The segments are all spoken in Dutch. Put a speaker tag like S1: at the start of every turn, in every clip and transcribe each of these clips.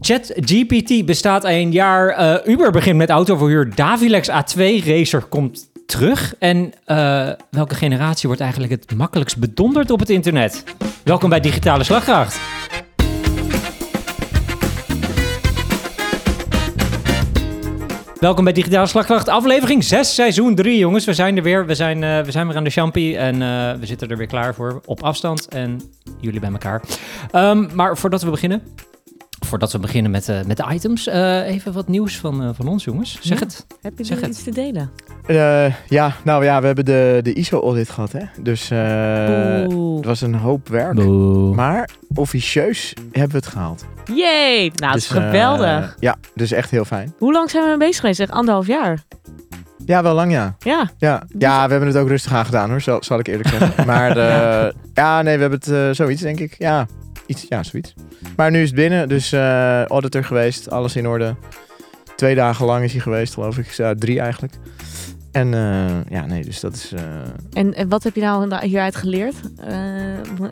S1: ChatGPT bestaat al een jaar. eh, Uber begint met autoverhuur. Davilex A2 Racer komt terug. En eh, welke generatie wordt eigenlijk het makkelijkst bedonderd op het internet? Welkom bij Digitale Slagkracht. Welkom bij Digitale Slagkracht, aflevering 6, seizoen 3, jongens. We zijn er weer, we zijn, eh, we zijn weer aan de champie en eh, we zitten er weer klaar voor op afstand en jullie bij elkaar. Ehm, maar voordat we beginnen, voordat we beginnen met, eh, met de items, eh, even wat nieuws van, eh, van ons, jongens. Zeg
S2: Ja.
S1: het.
S2: Heb je
S1: Zeg
S2: er
S1: het.
S2: iets te delen?
S3: Eh, ja, nou ja, we hebben de, de ISO-audit gehad, hè. Dus eh,
S2: Oeh.
S3: het was een hoop werk.
S1: Boe.
S3: Maar officieus hebben we het gehaald.
S2: Yay! Nou, het Ah, is
S3: Dus, eh,
S2: geweldig.
S3: ja, dus echt heel fijn.
S2: Hoe lang zijn we mee bezig geweest? Echt anderhalf jaar.
S3: Ja, wel lang, ja.
S2: Ja.
S3: Ja, ja we hebben het ook rustig aan gedaan, hoor. Zal, zal ik eerlijk zeggen. maar eh, ja, nee, we hebben het eh, zoiets, denk ik. Ja, iets, ja, zoiets. Maar nu is het binnen, dus eh, auditor geweest. Alles in orde. Twee dagen lang is hij geweest, geloof ik. Ja, drie eigenlijk. En eh, ja, nee, dus dat is... eh,
S2: En, en wat heb je nou da- hieruit geleerd? Eh,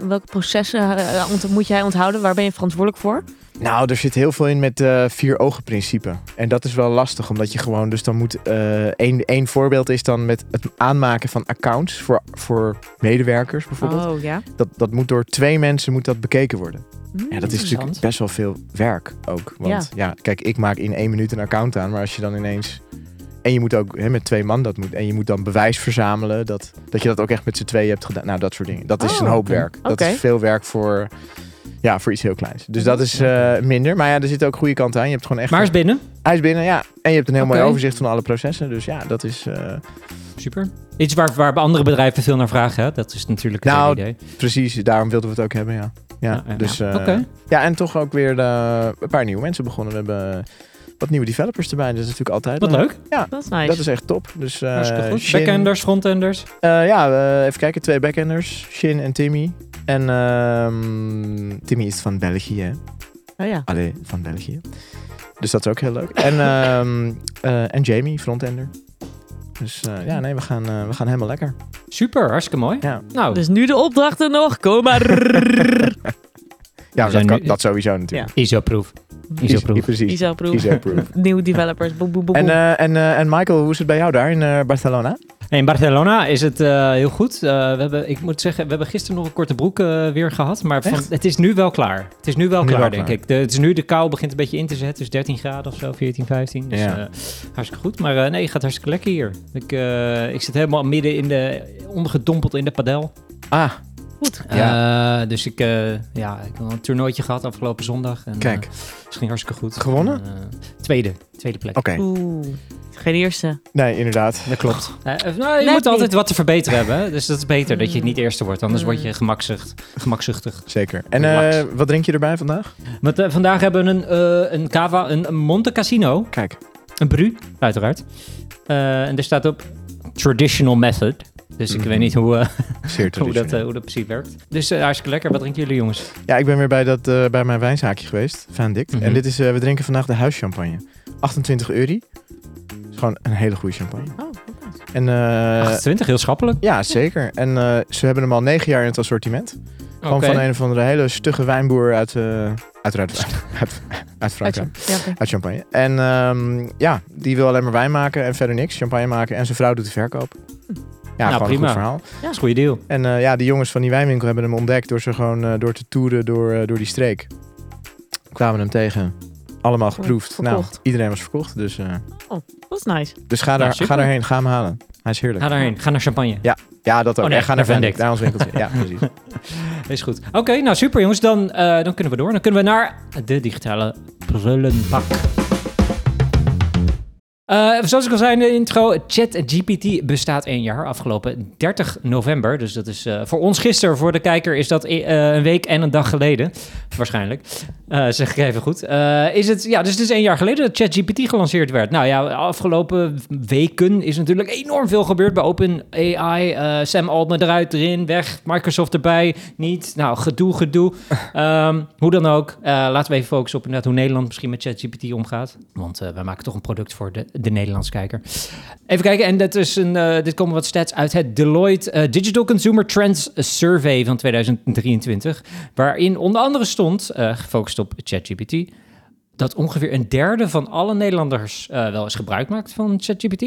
S2: welke processen eh, ont- moet jij onthouden? Waar ben je verantwoordelijk voor?
S3: Nou, er zit heel veel in met eh vier ogen principe. En dat is wel lastig, omdat je gewoon... Dus dan moet... eh één, één voorbeeld is dan met het aanmaken van accounts voor, voor medewerkers bijvoorbeeld.
S2: Oh ja.
S3: Dat, dat moet door twee mensen moet dat bekeken worden.
S2: Mm.
S3: Ja, dat is natuurlijk
S1: Interessant.
S3: best wel veel werk ook. Want ja. kijk, ik maak in één minuut een account aan, maar als je dan ineens... En je moet ook hè, met twee man dat moet. En je moet dan bewijs verzamelen dat, dat je dat ook echt met z'n tweeën hebt gedaan. Nou, dat soort dingen. Dat is
S2: Oh,
S3: een hoop werk. Dat
S2: oké.
S3: is veel werk voor, ja, voor iets heel kleins. Dus dat is eh, minder. Maar ja, er zit ook goede kant aan. Je hebt gewoon echt...
S1: Maar is binnen.
S3: Hij is binnen, ja. En je hebt een heel
S1: Oké.
S3: mooi overzicht van alle processen. Dus ja, dat is eh,
S1: Super. Iets waar, waar andere bedrijven veel naar vragen, hè? dat is natuurlijk het
S3: Nou,
S1: hele idee.
S3: precies. Daarom wilden we het ook hebben, ja. Ja,
S1: Ah, Ja, ja,
S3: dus...
S1: ja.
S3: eh,
S1: Oké.
S3: Ja, en toch ook weer eh, een paar nieuwe mensen begonnen. We hebben eh, wat nieuwe developers erbij. Dat is natuurlijk altijd
S1: Wat
S3: leuk.
S1: leuk.
S2: Dat is nice.
S3: Dat is echt top. Dus, eh,
S1: Hartstikke goed.
S3: Shin-
S1: Backenders, frontenders.
S3: Eh, ja, eh, even kijken. Twee backenders. Shin en Timmy. En ehm, Timmy is van België. hè?
S2: Oh, ja.
S3: Allee, van België. Dus dat is ook heel leuk. En, ehm, eh, en Jamie, frontender. Dus eh, ja, nee, we gaan, eh, we gaan helemaal lekker.
S1: Super, hartstikke mooi.
S3: Ja,
S1: Nou,
S2: Dus nu de opdrachten nog. Kom maar.
S3: ja dat,
S1: zijn
S3: kan-
S1: nu-
S3: dat sowieso natuurlijk.
S1: ISO-proof.
S3: Is-
S1: ISO-proof.
S3: Precies.
S2: ISO-proof.
S3: ISO-proof.
S2: Nieuwe developers. Boem, boem, boem,
S3: en,
S2: boem.
S3: eh, en, eh, en Michael, hoe is het bij jou daar in eh, Barcelona?
S1: In Barcelona is het eh, heel goed. Eh, we hebben, ik moet zeggen, we hebben gisteren nog een korte broek eh, weer gehad. Maar van-
S3: Echt?
S1: het is nu wel klaar. Het is nu wel
S3: Nu
S1: klaar,
S3: wel
S1: denk
S3: klaar.
S1: ik. De, het is nu, de kou begint een beetje in te zetten. Dus 13 graden of zo, 14, 15. Dus
S3: Ja.
S1: eh, hartstikke goed. Maar eh, nee, het gaat hartstikke lekker hier. Ik, eh, ik zit helemaal midden in de, ondergedompeld in de padel.
S3: Ah,
S2: Goed.
S1: Eh, dus ik, eh, ja, ik heb wel een toernooitje gehad afgelopen zondag. En,
S3: Kijk.
S1: eh, het ging hartstikke goed.
S3: Gewonnen? Oh.
S1: En, eh, tweede. Tweede plek.
S3: oké.
S2: Oeh. Geen eerste.
S3: Nee, inderdaad. Dat klopt.
S1: Eh, eh, nou, je
S2: Net
S1: moet altijd
S2: niet.
S1: wat te verbeteren hebben. hè. Dus dat is beter dat je
S2: Mm.
S1: niet eerste wordt. Anders word je
S2: Mm.
S1: gemakzucht, gemakzuchtig.
S3: Zeker. En
S1: Relax.
S3: eh, wat drink je erbij vandaag?
S1: Want eh, vandaag hebben we een, eh, een cava, een, een Monte Cassino.
S3: Kijk.
S1: Een bru, uiteraard. Eh, en daar staat op traditional method. Dus ik
S3: Mhm.
S1: weet niet hoe, eh,
S3: Zeer
S1: hoe, dat, eh,
S3: traditioneel.
S1: hoe dat precies werkt. Dus eh, hartstikke lekker. Wat drinken jullie, jongens?
S3: Ja, ik ben weer bij, dat, eh, bij mijn wijnzaakje geweest, Van Dikt.
S1: Mhm.
S3: En dit is, eh, we drinken vandaag de huischampagne. 28 euro. Is gewoon een hele goede champagne.
S2: Oh,
S3: En eh,
S1: 28, heel schappelijk.
S3: ja, zeker. En eh, ze hebben hem al negen jaar in het assortiment. Gewoon
S1: Oké.
S3: van een of andere hele stugge wijnboer uit, eh uiteraard, uit, uit Frankrijk.
S2: Ja, oké.
S3: Uit champagne. En ehm, ja, die wil alleen maar wijn maken en verder niks. Champagne maken en zijn vrouw doet de verkoop. Ja, gewoon een
S1: Hm. Nou, prima.
S3: goed verhaal.
S1: Dat is een goede deal.
S3: En eh, ja, die jongens van die wijnwinkel hebben hem ontdekt door ze gewoon eh, door te toeren door, eh, door die streek. Kwamen hem tegen. Allemaal geproefd. nou,
S2: verkocht.
S3: iedereen was verkocht. Dus, eh,
S2: Dat is nice.
S3: dus ga, daar,
S1: super.
S3: ga daarheen, ga hem halen. Hij is heerlijk.
S1: Ga daarheen. Ga naar champagne.
S3: Ja, dat ook.
S1: Oh, nee,
S3: en ga
S1: naar
S3: naar
S1: Van
S3: Van
S1: Dijk.
S3: naar ons winkeltje. ja, precies.
S1: Is goed. Oké, nou super jongens. Dan, eh, dan kunnen we door. Dan kunnen we naar de digitale prullenbak. Eh, zoals ik al zei in de intro, ChatGPT bestaat één jaar, afgelopen 30 november. Dus dat is eh, voor ons gisteren, voor de kijker is dat eh, een week en een dag geleden. Waarschijnlijk, Eh, zeg ik even goed. Eh, is het, ja, dus het is één jaar geleden dat ChatGPT gelanceerd werd. Nou ja, afgelopen weken is natuurlijk enorm veel gebeurd bij OpenAI. Eh, Sam Altman eruit, erin, weg. Microsoft erbij, niet. Nou, gedoe, gedoe. Ehm, hoe dan ook, eh, laten we even focussen op inderdaad hoe Nederland misschien met ChatGPT omgaat. Want eh, wij maken toch een product voor de, de Nederlandse kijker. Even kijken, en dat is een, eh, dit komen wat stats uit het Deloitte eh, Digital Consumer Trends Survey van 2023. Waarin onder andere stond, eh, gefocust op ChatGPT, dat ongeveer een derde van alle Nederlanders eh, wel eens gebruik maakt van ChatGPT.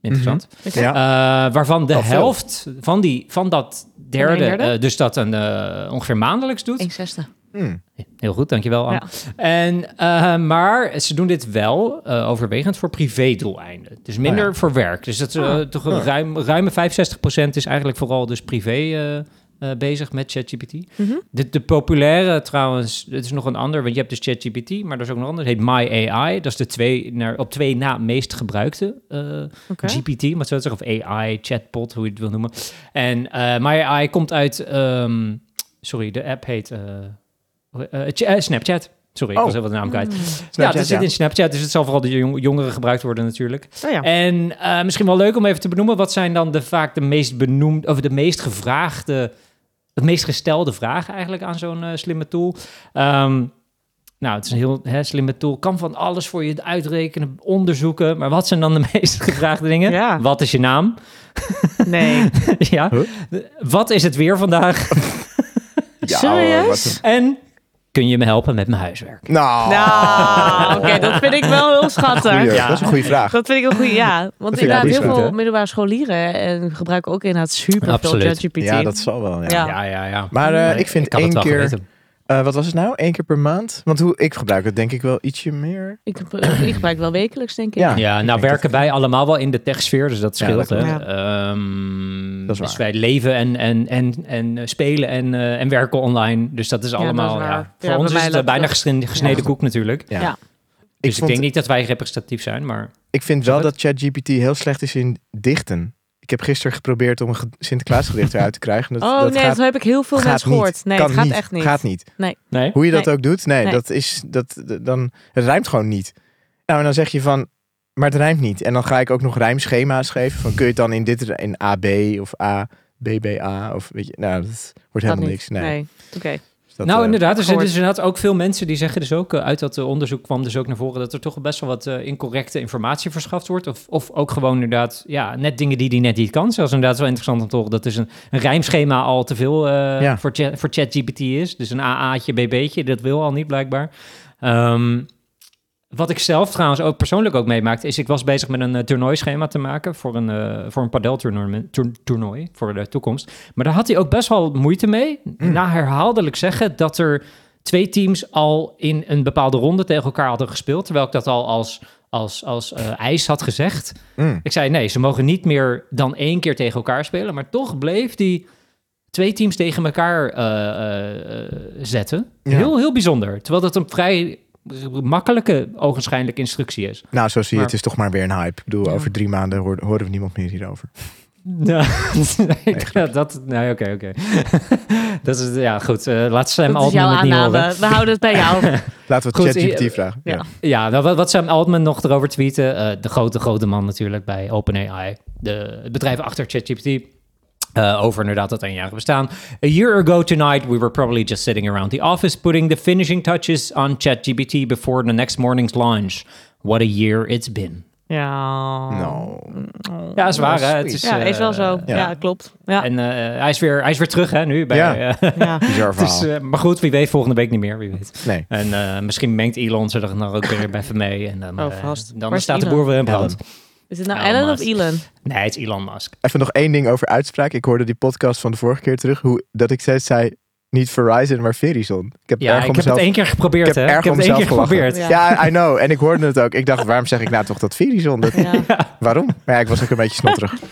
S1: Interessant.
S3: Mhm, Ja.
S1: Eh, waarvan de
S3: Wel veel.
S1: helft van, die, van dat derde,
S2: derde?
S1: eh, dus dat een, eh, ongeveer maandelijks doet.
S2: 1 zesde.
S3: Hmm.
S1: Heel goed, dankjewel. Anne.
S2: Ja.
S1: En, eh, maar ze doen dit wel eh, overwegend voor privédoeleinden. Dus minder
S3: Oh ja.
S1: voor werk. Dus dat, eh, toch een
S3: Ja.
S1: ruim, ruime 65% is eigenlijk vooral dus privé eh, eh, bezig met ChatGPT.
S2: Mhm.
S1: De, de populaire trouwens, het is nog een ander, want je hebt dus ChatGPT, maar er is ook nog een ander. Het heet My AI. Dat is de twee, naar, op twee na meest gebruikte eh,
S2: Oké.
S1: GPT, maar het zo te zeggen, of AI, chatbot, hoe je het wil noemen. En eh My AI komt uit, ehm, sorry, de app heet eh, hoe- eh, Ch- eh, Snapchat. Sorry, ik
S3: Oh.
S1: was even de naam kwijt. ja,
S3: Snapchat,
S1: dat zit in Snapchat, dus het zal vooral door jong- jongeren gebruikt worden natuurlijk.
S2: Oh ja.
S1: En eh, misschien wel leuk om even te benoemen, wat zijn dan de, vaak de meest benoemd, of de meest gevraagde, het meest gestelde vragen eigenlijk aan zo'n eh, slimme tool? Ehm, nou, het is een heel hè, slimme tool. Kan van alles voor je uitrekenen, onderzoeken. Maar wat zijn dan de meest gevraagde dingen?
S2: Ja.
S1: Wat is je naam?
S3: oh,
S2: Nee.
S1: ja.
S3: Huh?
S1: Wat is het weer vandaag?
S3: Ja, oh,
S2: Serieus?
S3: wat een-
S1: En kun je me helpen met mijn huiswerk?
S3: Nou,
S2: Nou, oké, dat vind ik wel heel schattig.
S3: goeie,
S1: Ja.
S3: dat is een goede vraag.
S2: Dat vind ik een goede, ja. Want
S3: ik
S2: inderdaad,
S3: ook
S2: heel
S3: goed,
S2: veel
S1: hè?
S2: middelbare scholieren en gebruiken ook inderdaad super veel
S1: Absoluut.
S2: ChatGPT.
S3: Ja, dat zal wel. Ja.
S2: Ja.
S1: ja, ja. ja.
S3: Maar eh, ik
S1: had
S3: vind
S1: het
S3: één
S1: wel
S3: keer,
S1: geweten.
S3: eh, wat was het nou? Eén keer per maand? Want hoe ik gebruik het denk ik wel ietsje meer.
S2: Ik, heb- ik gebruik wel wekelijks, denk ik.
S1: Ja,
S3: Ja.
S1: nou
S3: Ah, ik denk
S1: werken wij allemaal wel in de techsfeer, dus dat
S3: Ja,
S1: scheelt.
S3: dat
S1: hè.
S2: klopt.
S1: Ehm,
S3: Dat is
S1: dus
S3: waar.
S1: wij leven en, en, en, en eh, spelen en, eh, en werken online. Dus dat is
S2: dat is
S1: allemaal.
S2: waar.
S1: ja.
S2: Ja,
S1: Voor
S2: bij
S1: ons
S2: mij
S1: is het eh,
S2: loopt
S1: bijna
S2: dat-
S1: gesneden, gesneden
S2: Ja.
S1: koek natuurlijk.
S3: Ja.
S2: Ja.
S1: Dus ik,
S3: vond-
S1: denk niet dat wij representatief zijn, maar
S3: Ik vind wel dat ChatGPT heel slecht is in dichten. Ik heb gisteren geprobeerd om een ge- Sinterklaasgedicht eruit te krijgen. Dat,
S2: Oh
S3: dat
S2: nee,
S3: gaat,
S2: dat heb ik heel veel
S3: gaat
S2: mensen gehoord.
S3: niet.
S2: Nee,
S3: Kan
S2: het gaat echt niet.
S3: Gaat niet.
S1: nee.
S3: Hoe je dat
S2: Nee.
S3: ook doet, nee,
S2: Nee.
S3: dat is, dat, d- dan, het rijmt gewoon niet. Nou, en dan zeg je van, maar het rijmt niet. En dan ga ik ook nog rijmschema's geven. Van, kun je het dan in dit, r- in AB of A, BBA of weet je, nou, dat wordt
S2: Gaat
S3: helemaal
S2: niet.
S3: niks. Nee.
S2: Oké.
S3: Dus dat,
S1: nou,
S3: eh,
S1: inderdaad. Er zijn
S2: gehoord.
S1: dus inderdaad ook veel mensen die zeggen dus ook... eh, uit dat eh, onderzoek kwam dus ook naar voren... dat er toch best wel wat eh, incorrecte informatie verschaft wordt. Of, of ook gewoon inderdaad, ja, net dingen die die net niet kan. Zoals inderdaad wel interessant om te horen... dat is een, een rijmschema al te veel eh,
S3: Ja.
S1: voor, chat, voor ChatGPT is. Dus een AA'tje, BB'tje, dat wil al niet blijkbaar. Ehm, wat ik zelf trouwens ook persoonlijk ook meemaakte... is ik was bezig met een eh, toernooischema te maken... voor een, eh voor een padeltoernooi toer- toernooi voor de toekomst. Maar daar had hij ook best wel moeite mee. Na herhaaldelijk zeggen dat er twee teams al in een bepaalde ronde tegen elkaar hadden gespeeld. Terwijl ik dat al als, als, als eh, ijs had gezegd.
S3: mm,
S1: Ik zei nee, ze mogen niet meer dan één keer tegen elkaar spelen. Maar toch bleef die twee teams tegen elkaar eh, eh, eh, zetten.
S3: Ja.
S1: Heel, heel bijzonder. Terwijl dat een vrij makkelijke, ogenschijnlijk instructie is.
S3: nou, zo zie je,
S1: Maar-
S3: het is toch maar weer een hype. Ik bedoel,
S2: Ja.
S3: over drie maanden hoor- horen we niemand meer hierover.
S1: Nou, ik- dat, nee, oké, oké. dat is, ja, goed. eh, laat Sam
S2: Dat is
S1: Altman
S2: jouw
S1: het niet horen.
S2: aanname. We houden het bij jou.
S3: Laten we
S1: Goed,
S3: het ChatGPT
S1: eh,
S3: vragen.
S2: ja.
S3: Ja.
S1: Ja, nou, wat, wat Sam Altman nog erover tweette, eh, de grote, grote man natuurlijk bij OpenAI, de, het bedrijf achter ChatGPT, eh, over inderdaad dat eenjarige bestaan. A year ago tonight, we were probably just sitting around the office putting the finishing touches on ChatGPT before the next morning's launch. What a year it's been.
S2: Ja.
S1: Oh.
S3: Nou,
S1: Ja, is waar, hè? Het is,
S2: Ja,
S1: eh,
S2: is wel zo.
S3: Dus, ja.
S2: Ja, klopt. Ja.
S1: En eh, hij, is weer, hij is weer terug, hè, nu. Bij,
S3: Ja.
S1: eh,
S2: ja.
S3: bizar
S1: het is,
S3: verhaal.
S1: eh, maar goed, wie weet, volgende week niet meer, wie weet.
S3: nee.
S1: En eh, misschien mengt Elon zich er nog ook weer bij even mee. En dan,
S2: Oh,
S1: eh,
S2: vast.
S1: dan
S2: Waar is
S1: staat de
S2: Elon?
S1: boer weer in brand.
S2: Is het nou
S1: Nou,
S2: Ellen of
S1: maar-
S2: Elon?
S1: Nee, het is Elon Musk.
S3: Even nog één ding over uitspraak. Ik hoorde die podcast van de vorige keer terug. Hoe, dat ik steeds zei, niet Verizon, maar Verizon. Ik heb
S1: Ja,
S3: erg
S1: ik heb
S3: om mezelf...
S1: het één keer geprobeerd,
S3: Ik heb
S1: hè?
S3: erg
S1: Ik heb
S3: om
S1: het één keer
S3: mezelf gelachen.
S1: geprobeerd.
S2: Ja.
S3: Ja, I know. En ik hoorde het ook. Ik dacht, waarom zeg ik nou toch dat Verizon? Dat,
S2: Ja.
S3: Waarom? Maar ja, ik was ook een beetje snotterig. ik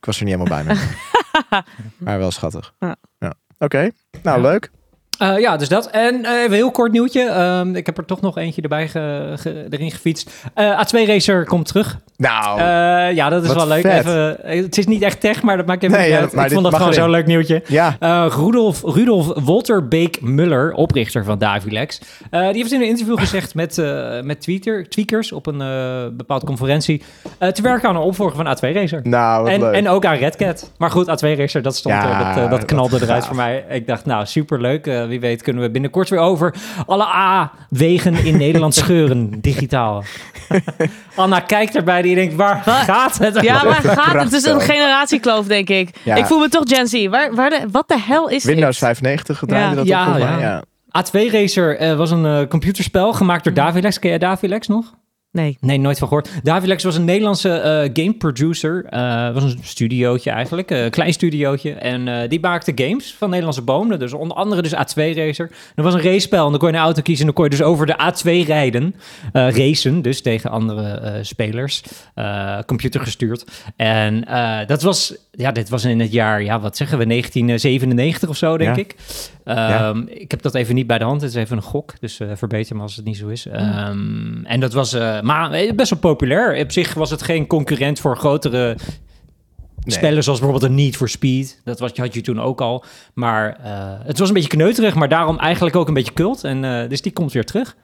S3: was er niet helemaal bij mee. maar wel schattig.
S2: Ja.
S3: Oké, nou
S1: Ja.
S3: leuk.
S1: Eh, ja, dus dat. En eh, even een heel kort nieuwtje. Ehm, ik heb er toch nog eentje erbij ge- ge- erin gefietst. Eh, A2 Racer komt terug.
S3: Nou,
S1: Eh, ja, dat is
S3: Wat
S1: wel leuk.
S3: vet.
S1: Even, eh, het is niet echt tech, maar dat maakt even
S3: Nee,
S1: niet
S3: ja,
S1: uit.
S3: maar
S1: Ik
S3: dit
S1: vond dat
S3: mag
S1: gewoon zo'n
S3: erin.
S1: leuk nieuwtje.
S3: ja.
S1: Eh, Rudolf, Rudolf Walter Beek Muller, oprichter van Davilex. eh, die heeft in een interview gezegd met, eh met tweeter, tweakers op een eh bepaalde conferentie... eh, te werken aan een opvolger van A2 Racer.
S3: Nou, wat
S1: En,
S3: leuk.
S1: en ook aan Red Cat. Maar goed, A2 Racer, dat stond
S3: Ja,
S1: er. Dat, eh, dat
S3: wat
S1: knalde eruit
S3: gaaf.
S1: voor mij. Ik dacht, nou, superleuk. Eh, wie weet kunnen we binnenkort weer over alle A-wegen in Nederland scheuren, digitaal. Anna kijkt erbij, die denkt, waar
S2: Wat?
S1: gaat het?
S2: Ja,
S1: over?
S2: waar gaat het? Het is een
S3: krachtstel.
S2: generatiekloof, denk ik.
S3: Ja.
S2: Ik voel me toch Gen Z. Waar, waar de, wat de hel is dit?
S3: Windows 95 draaide
S2: Ja.
S3: dat
S1: Ja,
S3: op. volgens mij.
S1: ja. A2 Racer eh, was een eh, computerspel gemaakt
S3: Mhm.
S1: door Davilex. Ken jij Davilex nog?
S2: Nee.
S1: Nee, nooit van gehoord. Davilex was een Nederlandse eh, game producer. Eh was een studiootje eigenlijk, eh, een klein studiootje. En eh, die maakte games van Nederlandse bomen. Dus onder andere dus A2 Racer. Dat was een racepel en dan kon je een auto kiezen... en dan kon je dus over de A2 rijden. eh, racen dus tegen andere eh, spelers. eh computer gestuurd. En eh, dat was... Ja, dit was in het jaar, ja, wat zeggen we, 1997 of zo, denk
S3: Ja.
S1: ik. Ehm, Ik heb dat even niet bij de hand. Het is even een gok. Dus eh, verbeter me als het niet zo is. Ehm, en dat was eh, maar eh, best wel populair. Op zich was het geen concurrent voor grotere spellen. Zoals bijvoorbeeld een Need for Speed. Dat was, had je toen ook al. Maar eh, het was een beetje kneuterig. Maar daarom eigenlijk ook een beetje cult. En, eh, dus die komt weer terug.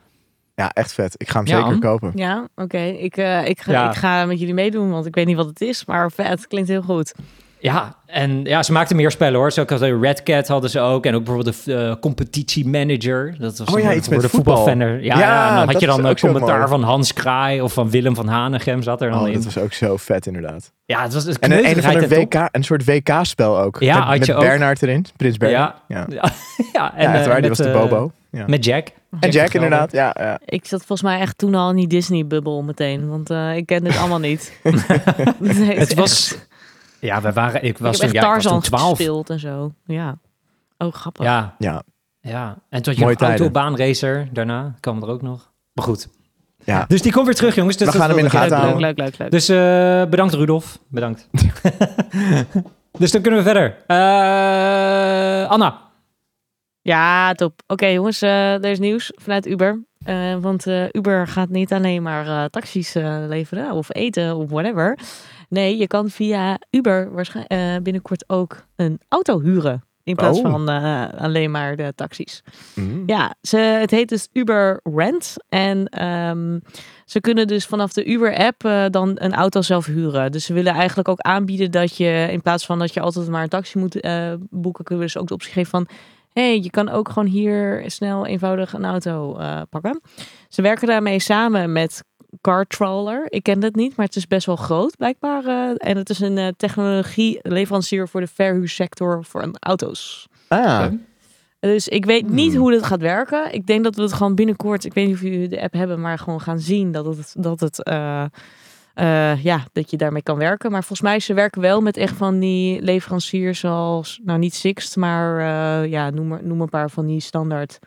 S3: Ja, echt vet. Ik ga hem
S1: Ja,
S3: zeker
S1: Ann?
S3: kopen.
S2: Ja, oké. Ik, eh, ik, ga,
S1: Ja.
S2: ik ga met jullie meedoen, want ik weet niet wat het is, maar vet. Klinkt heel goed.
S1: Ja, en ja, ze maakten meer spellen hoor. Zo ook hadden Red Cat hadden ze ook. En ook bijvoorbeeld de eh, competitie manager. Dat was
S3: Oh
S1: een- eh,
S3: ja, iets
S1: voor
S3: met
S1: de
S3: voetbal.
S1: voetbalfanner. Ja,
S3: Ja,
S1: ja, en dan had
S3: dat
S1: je
S3: is
S1: dan een
S3: ook zo
S1: commentaar
S3: mooi.
S1: van Hans Kraai of van Willem van Hanegem zat er dan
S3: Oh,
S1: in.
S3: dat was ook zo vet inderdaad.
S1: Ja, het was het
S3: En een, een of ander
S1: kneuterigheid en top.
S3: WK, een soort WK-spel ook.
S1: Ja,
S3: met
S1: had je
S3: met
S1: ook.
S3: Bernard erin, Prins Bernard.
S1: Ja.
S3: Ja, ja.
S1: Ja, ja, en,
S3: echt
S1: eh,
S3: waar, die
S1: met,
S3: was de
S1: eh,
S3: Bobo. Ja.
S1: Met Jack.
S3: En Jack
S1: Gelder.
S3: inderdaad, ja. ja.
S2: Ik zat volgens mij echt toen al in die Disney-bubbel meteen, want eh, ik ken dit allemaal niet. Nee,
S1: Het was... Ja, we waren... Ik was
S2: ik heb
S1: toen,
S2: echt
S1: ja, ik was toen
S2: Tarzan
S1: 12.
S2: gespeeld en zo. Ja. Oh, grappig.
S1: Ja,
S3: ja.
S1: ja. En toen had je
S3: Mooie
S1: nog
S3: tijden.
S1: autobaanracer daarna. Kwam er ook nog. Maar goed.
S3: Ja.
S1: Dus die komt weer terug, jongens. Dus
S3: We
S1: dat
S3: gaan hem
S1: wilde
S3: in de
S1: ik
S2: Leuk,
S3: gaten
S1: even-
S2: leuk,
S3: houden.
S2: leuk, leuk, leuk.
S1: Dus eh, bedankt, Rudolf. Bedankt. dus dan kunnen we verder. Eh, Anna.
S2: Ja, top. Oké, jongens, eh, er is nieuws vanuit Uber. Eh, want eh, Uber gaat niet alleen maar eh, taxis eh, leveren of eten of whatever. Nee, je kan via Uber waarschijn- eh, binnenkort ook een auto huren. In plaats
S3: Oh.
S2: van eh, alleen maar de taxis.
S3: Mm.
S2: Ja, ze, het heet dus Uber Rent. En ehm, ze kunnen dus vanaf de Uber-app eh, dan een auto zelf huren. Dus ze willen eigenlijk ook aanbieden dat je in plaats van dat je altijd maar een taxi moet eh, boeken, kunnen we dus ook de optie geven van. Hé, hey, je kan ook gewoon hier snel eenvoudig een auto eh, pakken. Ze werken daarmee samen met CarTrawler. Ik ken dat niet, maar het is best wel groot blijkbaar. eh, en het is een eh, technologieleverancier voor de verhuursector voor auto's.
S3: Ah,
S1: Oké.
S2: Dus ik weet niet
S3: Hmm.
S2: hoe dit gaat werken. Ik denk dat we het gewoon binnenkort, ik weet niet of jullie de app hebben, maar gewoon gaan zien dat het, dat het eh, eh, ja, dat je daarmee kan werken. Maar volgens mij, ze werken wel met echt van die leveranciers zoals, nou niet Sixt, maar eh, ja, noem, maar- noem een paar van die standaard.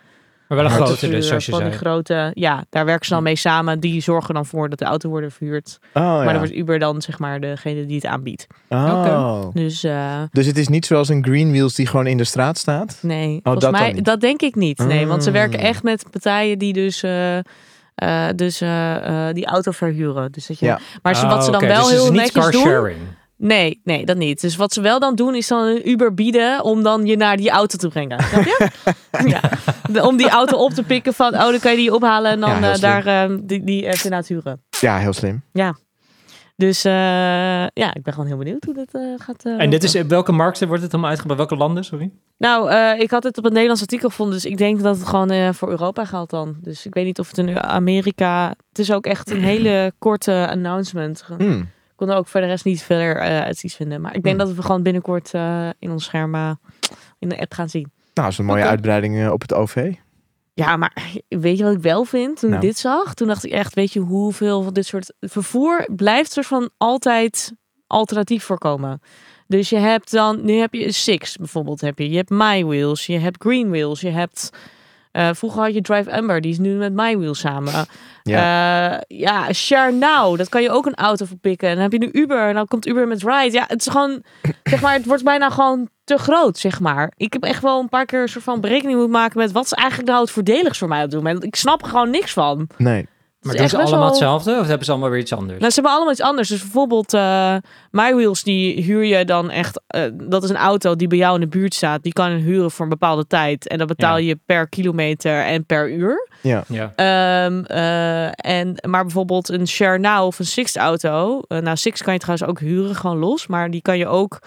S1: Maar wel een
S3: Ja, het is eh,
S1: grote dus,
S2: verhuur-
S1: zoals je
S2: van
S1: zei.
S2: die grote, ja, daar werken ze dan mee samen. Die zorgen dan voor dat de auto worden verhuurd.
S3: oh
S2: Maar
S3: ja.
S2: dan wordt Uber dan, zeg maar, degene die het aanbiedt.
S3: Oh.
S2: Dus eh,
S3: Dus het is niet zoals een Green Wheels die gewoon in de straat staat?
S2: Nee, volgens
S3: Oh, dat dan
S2: mij,
S3: niet.
S2: dat denk ik niet. Nee, want ze werken
S3: Mm.
S2: echt met partijen die dus, eh, eh, dus eh, eh, die auto verhuren. Dus dat je,
S3: Ja. Oh,
S2: Maar ze, wat
S1: Ah,
S2: ze dan
S1: oké,
S2: wel
S1: dus het is
S2: heel
S1: niet
S2: netjes doen...
S1: carsharing.
S2: Nee, nee, dat niet. Dus wat ze wel dan doen, is dan een Uber bieden om dan je naar die auto te brengen. Snap je? ja. De- om die auto op te pikken van, oh, dan kan je die ophalen en dan
S3: Ja, heel
S2: eh,
S3: slim.
S2: daar eh, die, die eh, te laten huren.
S3: Ja, heel slim.
S2: Dus eh, ja, ik ben gewoon heel benieuwd hoe dat eh, gaat eh,
S1: En dit
S2: lopen.
S1: is, in welke markten wordt het dan uitgebracht? Welke landen, sorry?
S2: Nou, eh, ik had het op een Nederlands artikel gevonden, dus ik denk dat het gewoon eh, voor Europa geldt dan. Dus ik weet niet of het in Amerika. Het is ook echt een hele korte announcement. Ge- Ik
S3: Hmm.
S2: kon er ook voor de rest niet verder eh, uit iets vinden. Maar ik denk
S3: Hmm.
S2: dat we gewoon binnenkort eh, in ons scherm eh, in de app gaan zien.
S3: Nou, dat is een mooie
S2: Oké.
S3: uitbreiding eh, op het OV.
S2: Ja, maar weet je wat ik wel vind? Toen
S3: Nou.
S2: ik dit zag, toen dacht ik echt, weet je hoeveel van dit soort vervoer blijft er van altijd alternatief voorkomen. Dus je hebt dan, nu heb je Six bijvoorbeeld, heb je. Je hebt My Wheels, je hebt Green Wheels, je hebt. eh, vroeger had je Drive Amber, die is nu met My Wheels samen. Ja, Eh, ja Share Now, dat kan je ook een auto voor pikken. En dan heb je nu Uber, en dan komt Uber met Ride. Ja, het is gewoon, zeg maar, het wordt bijna gewoon te groot, zeg maar. Ik heb echt wel een paar keer een soort van berekening moeten maken met wat is eigenlijk nou het voordeligs voor mij op dit moment. Ik snap er gewoon niks van. Het
S3: Nee.
S2: is
S1: Maar
S2: echt
S1: doen ze
S2: best
S1: allemaal
S2: wel-
S1: hetzelfde of hebben ze allemaal weer iets anders?
S2: nou, ze hebben allemaal iets anders. Dus bijvoorbeeld eh MyWheels, die huur je dan echt... eh, dat is een auto die bij jou in de buurt staat. Die kan je huren voor een bepaalde tijd. En dat betaal je per kilometer en per uur.
S1: Ja.
S2: Ehm, eh, en, maar bijvoorbeeld een Share Now of een Sixt auto. eh, nou, Sixt kan je trouwens ook huren, gewoon los. Maar die kan je ook...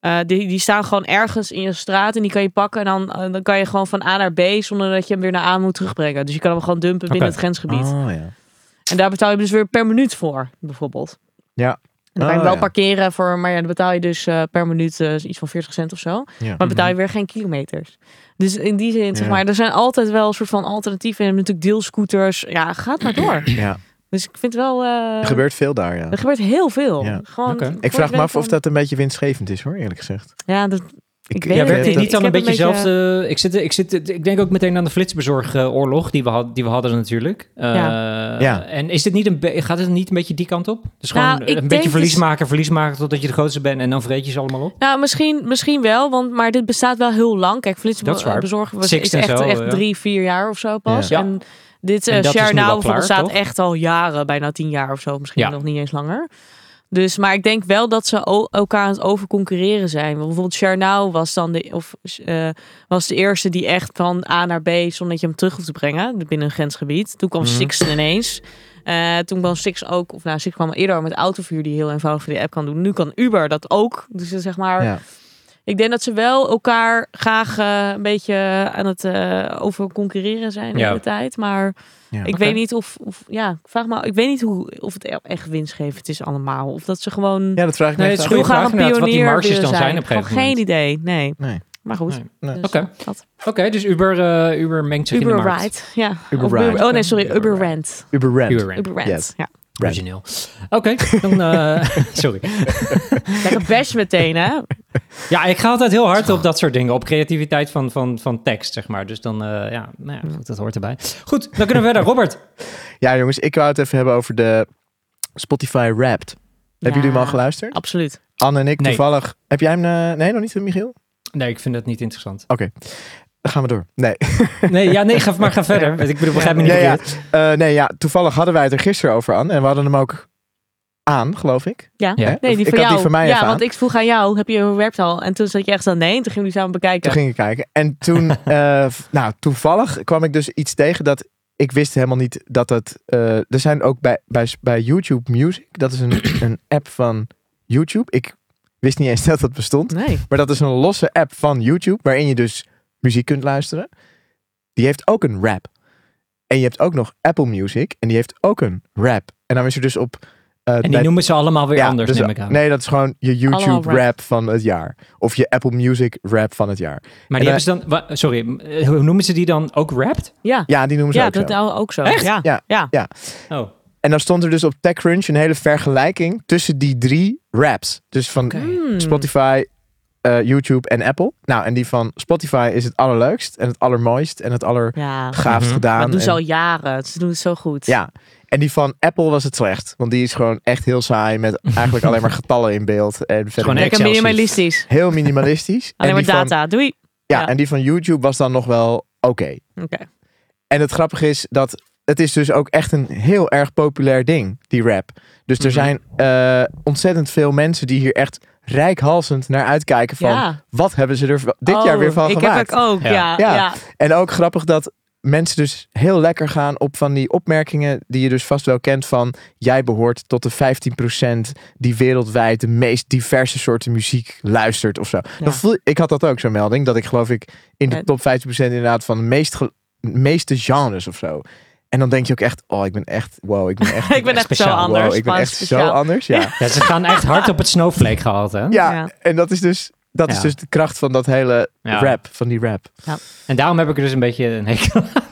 S2: eh, die, die staan gewoon ergens in je straat en die kan je pakken. En dan, eh, dan kan je gewoon van A naar B zonder dat je hem weer naar A moet terugbrengen. Dus je kan hem gewoon dumpen binnen
S1: Oké.
S3: Ah.
S2: het grensgebied.
S3: Oh, ja.
S2: En daar betaal je dus weer per minuut voor, bijvoorbeeld.
S3: Ja.
S2: En dan kan
S3: Oh,
S2: je wel
S3: ja.
S2: parkeren voor, maar ja, dan betaal je dus eh, per minuut eh, iets van 40 cent of zo.
S3: Ja.
S2: Maar betaal je weer geen kilometers. Dus in die zin, zeg
S3: Mhm. Ja.
S2: maar, er zijn altijd wel een soort van alternatieven. En je hebt natuurlijk deelscooters. Ja, gaat maar door.
S3: ja.
S2: Dus ik vind wel. eh,
S3: Er gebeurt veel daar, ja.
S2: Er gebeurt heel veel.
S3: Ja.
S2: Gewoon,
S1: Oké.
S2: voor
S3: Ik vraag me
S2: ben
S3: af of
S2: van-
S3: dat een beetje winstgevend is, hoor, eerlijk gezegd.
S2: Ja, dat, Ik weet
S1: Ja,
S2: het
S1: werkt
S2: niet.
S1: dit niet dan
S2: Ik
S1: een
S2: heb
S1: beetje
S2: een beetje-
S1: zelfs... eh, ik, zit, ik, zit, ik denk ook meteen aan de flitsbezorgoorlog die, we had- die we hadden natuurlijk. Eh,
S3: Ja.
S1: En is dit niet een be- gaat het niet een beetje die kant op? Dus gewoon
S2: Nou, ik
S1: een
S2: denk
S1: beetje
S2: dus-
S1: verlies maken, verlies maken totdat je de grootste bent en dan vreet je ze allemaal op?
S2: nou, misschien, misschien wel, want, maar dit bestaat wel heel lang. Kijk,
S1: Dat is waar.
S2: flitsbezorgen was
S1: Sixt
S2: is
S1: en
S2: echt,
S1: zo,
S2: echt
S1: ja.
S2: drie, vier jaar of zo pas.
S1: Ja.
S2: En dit
S1: En
S2: eh
S1: dat is
S2: Share
S1: nu wel
S2: Now
S1: klaar,
S2: bestaat
S1: toch?
S2: echt al jaren, bijna tien jaar of zo. Misschien
S1: Ja.
S2: nog niet eens langer. Dus, maar ik denk wel dat ze o- elkaar aan het overconcurreren zijn. Want Bijvoorbeeld Share Now was dan de, of, eh, was de eerste die echt van A naar B, zonder dat je hem terug hoeft te brengen, binnen een grensgebied. Toen kwam
S1: Mhm.
S2: Six ineens. Eh, toen kwam Six ook, of nou, Six kwam al eerder al met autovuur die heel eenvoudig via de app kan doen. Nu kan Uber dat ook. Dus dat is zeg maar,
S3: Ja.
S2: ik denk dat ze wel elkaar graag eh, een beetje aan het eh over concurreren zijn de
S1: Ja.
S2: hele tijd. Maar
S3: Ja.
S2: ik
S1: Oké.
S2: weet niet of, of, ja, ik vraag me, ik weet niet hoe, of het e-, echt winstgevend is allemaal. Of dat ze gewoon
S3: ja, dat vraag ik me
S1: Nee,
S3: echt
S1: het
S3: af.
S1: is goede
S2: heel graag
S1: vraag
S2: een
S1: inderdaad,
S2: pionier
S1: wat die marges
S2: willen
S1: dan zijn op een
S2: Gewoon
S1: gegeven moment.
S2: geen idee, nee.
S3: Nee.
S2: Maar goed.
S1: Nee.
S3: Nee.
S2: Dus,
S1: Oké.
S2: dat.
S1: Oké, dus Uber, eh, Uber mengt zich in
S2: Uber
S1: de markt.
S2: Ride. Ja.
S3: Uber
S2: Of
S3: Ride.
S2: Oh nee, sorry.
S1: Uber
S2: Uber
S1: Ride.
S2: Rent.
S3: Uber Rent.
S1: Uber Rent.
S2: Uber Rent.
S3: Yes.
S2: Ja.
S3: Rent.
S1: Origineel. Oké, dan... eh, sorry.
S2: Lekker bash meteen, hè?
S1: Ja, ik ga altijd heel hard op dat soort dingen. Op creativiteit van, van, van tekst, zeg maar. Dus dan, eh, ja, nou
S2: Hmm.
S1: ja, goed, dat hoort erbij. Goed, dan kunnen we verder. Robert.
S3: Ja, jongens, ik wou het even hebben over de Spotify Wrapped. Hebben jullie hem al geluisterd?
S2: Absoluut.
S3: Anne en ik
S1: Nee.
S3: toevallig. Heb jij hem... eh, nee, nog niet, Michiel?
S1: Nee, ik vind dat niet interessant.
S3: Dan gaan we door. Nee.
S1: Nee, ja, nee, ga, maar ga verder. Want Ik bedoel, begrijp me niet
S3: Nee ja,
S1: verkeerd.
S3: eh, nee, ja, toevallig hadden wij het er gisteren over aan. En we hadden hem ook aan, geloof ik.
S2: Ja.
S1: Ja.
S3: Hè?
S2: Nee, die
S3: ik
S2: van
S3: had
S2: jou.
S3: die van mij
S2: ja,
S3: even aan.
S2: want ik vroeg aan jou, heb je een werpt al? En toen zat je echt aan nee, en toen gingen jullie samen bekijken.
S3: Toen ging ik kijken. En toen, eh, f- nou, toevallig kwam ik dus iets tegen dat ik wist helemaal niet dat het. eh, er zijn ook bij, bij, bij YouTube Music, dat is een, een app van YouTube. Ik wist niet eens dat dat bestond.
S2: Nee.
S3: Maar dat is een losse app van YouTube, waarin je dus muziek kunt luisteren. Die heeft ook een rap. En je hebt ook nog Apple Music, en die heeft ook een rap. En dan is er dus op. eh,
S1: En die
S3: bij-
S1: noemen ze allemaal weer
S3: ja,
S1: anders,
S3: dus-
S1: neem ik aan.
S3: Nee, dat is gewoon je
S2: Allemaal
S3: YouTube
S2: rap.
S3: rap. van het jaar. Of je Apple Music rap van het jaar.
S1: maar die hebben ze dan... wa- sorry, eh, hoe noemen ze die dan ook wrapped?
S2: Ja.
S3: Ja, die noemen ze
S2: Ja,
S3: ook zo.
S2: dat nou ook zo.
S1: Echt?
S2: Ja.
S3: Ja.
S2: ja.
S1: Oh,
S3: En dan stond er dus op TechCrunch een hele vergelijking tussen die drie raps. Dus van
S1: Oké.
S2: Hmm.
S3: Spotify, eh, YouTube en Apple. Nou, en die van Spotify is het allerleukst en het allermooist en het allergaafst
S2: Ja.
S1: Mhm.
S3: gedaan.
S2: Dat doen ze
S3: En-
S2: al jaren. Ze doen het zo goed.
S3: Ja, en die van Apple was het slecht. Want die is gewoon echt heel saai met eigenlijk alleen maar getallen in beeld. En verder
S1: gewoon
S3: niks.
S2: Lekker
S1: Excel-sheet.
S2: minimalistisch.
S3: Heel minimalistisch.
S2: Alleen maar
S3: die van,
S2: data. Doei.
S3: ja,
S2: ja.
S3: en die van YouTube was dan nog wel oké.
S2: Oké.
S3: En het grappige is dat het is dus ook echt een heel erg populair ding, die rap. Dus er
S1: Mhm.
S3: zijn eh, ontzettend veel mensen die hier echt rijkhalsend naar uitkijken van...
S2: Ja.
S3: wat hebben ze er v- dit
S2: Oh,
S3: jaar weer van
S2: ik
S3: gemaakt?
S2: heb ik ook. Ja. Ja.
S1: Ja.
S3: Ja. En ook grappig dat mensen dus heel lekker gaan op van die opmerkingen... die je dus vast wel kent van... jij behoort tot de 15% die wereldwijd de meest diverse soorten muziek luistert of zo.
S2: Ja.
S3: Dan voel, ik had dat ook, zo'n melding. Dat ik geloof ik in de
S2: Ja.
S3: top 15% inderdaad van de meest ge- meeste genres of zo. En dan denk je ook echt, oh, ik ben echt, wow, ik ben echt,
S2: ik ben echt
S1: speciaal.
S2: zo
S3: wow,
S2: anders.
S3: ik ben
S2: maar
S3: echt zo
S2: speciaal.
S3: anders. Ja.
S1: ja, ze gaan echt hard op het snowflake gehaald, hè?
S3: Ja,
S2: Ja.
S3: en dat is dus, dat is
S1: Ja.
S3: dus de kracht van dat hele
S1: Ja.
S3: rap, van die rap.
S1: En daarom heb ik er dus een beetje een hekel aan.
S2: Ja.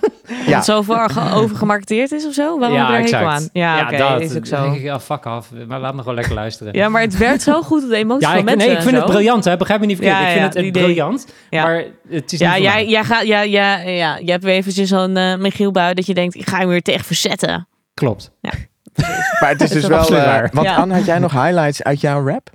S3: Ja.
S2: Het zo ver ge- overgemarketeerd is of zo? Waarom
S1: ja,
S2: heb je er
S1: exact.
S2: hekel aan? Ja, oké.
S1: dat
S2: is
S1: Dan
S2: ook zo.
S1: denk ik, ja, fuck af. Maar laat me gewoon lekker luisteren.
S2: Ja, maar het werkt zo goed op de emoties
S1: Ja,
S2: van
S1: ik,
S2: mensen.
S1: nee, ik
S2: en
S1: vind
S2: zo.
S1: het briljant, hè? Begrijp me niet verkeerd.
S2: Ja,
S1: ik vind
S2: ja,
S1: het, het
S2: die idee.
S1: briljant,
S2: Ja.
S1: maar het is niet
S2: Ja,
S1: voor
S2: jij,
S1: mij.
S2: jij, gaat, ja, ja, ja, je hebt weer eventjes zo'n eh Michiel bui dat je denkt, ik ga hem weer tegen verzetten.
S1: Klopt.
S3: Maar het is dus
S1: Dat is
S3: wel,
S1: absoluut
S3: eh,
S1: waar.
S3: want
S2: Ja.
S3: Anne, had jij nog highlights uit jouw rap?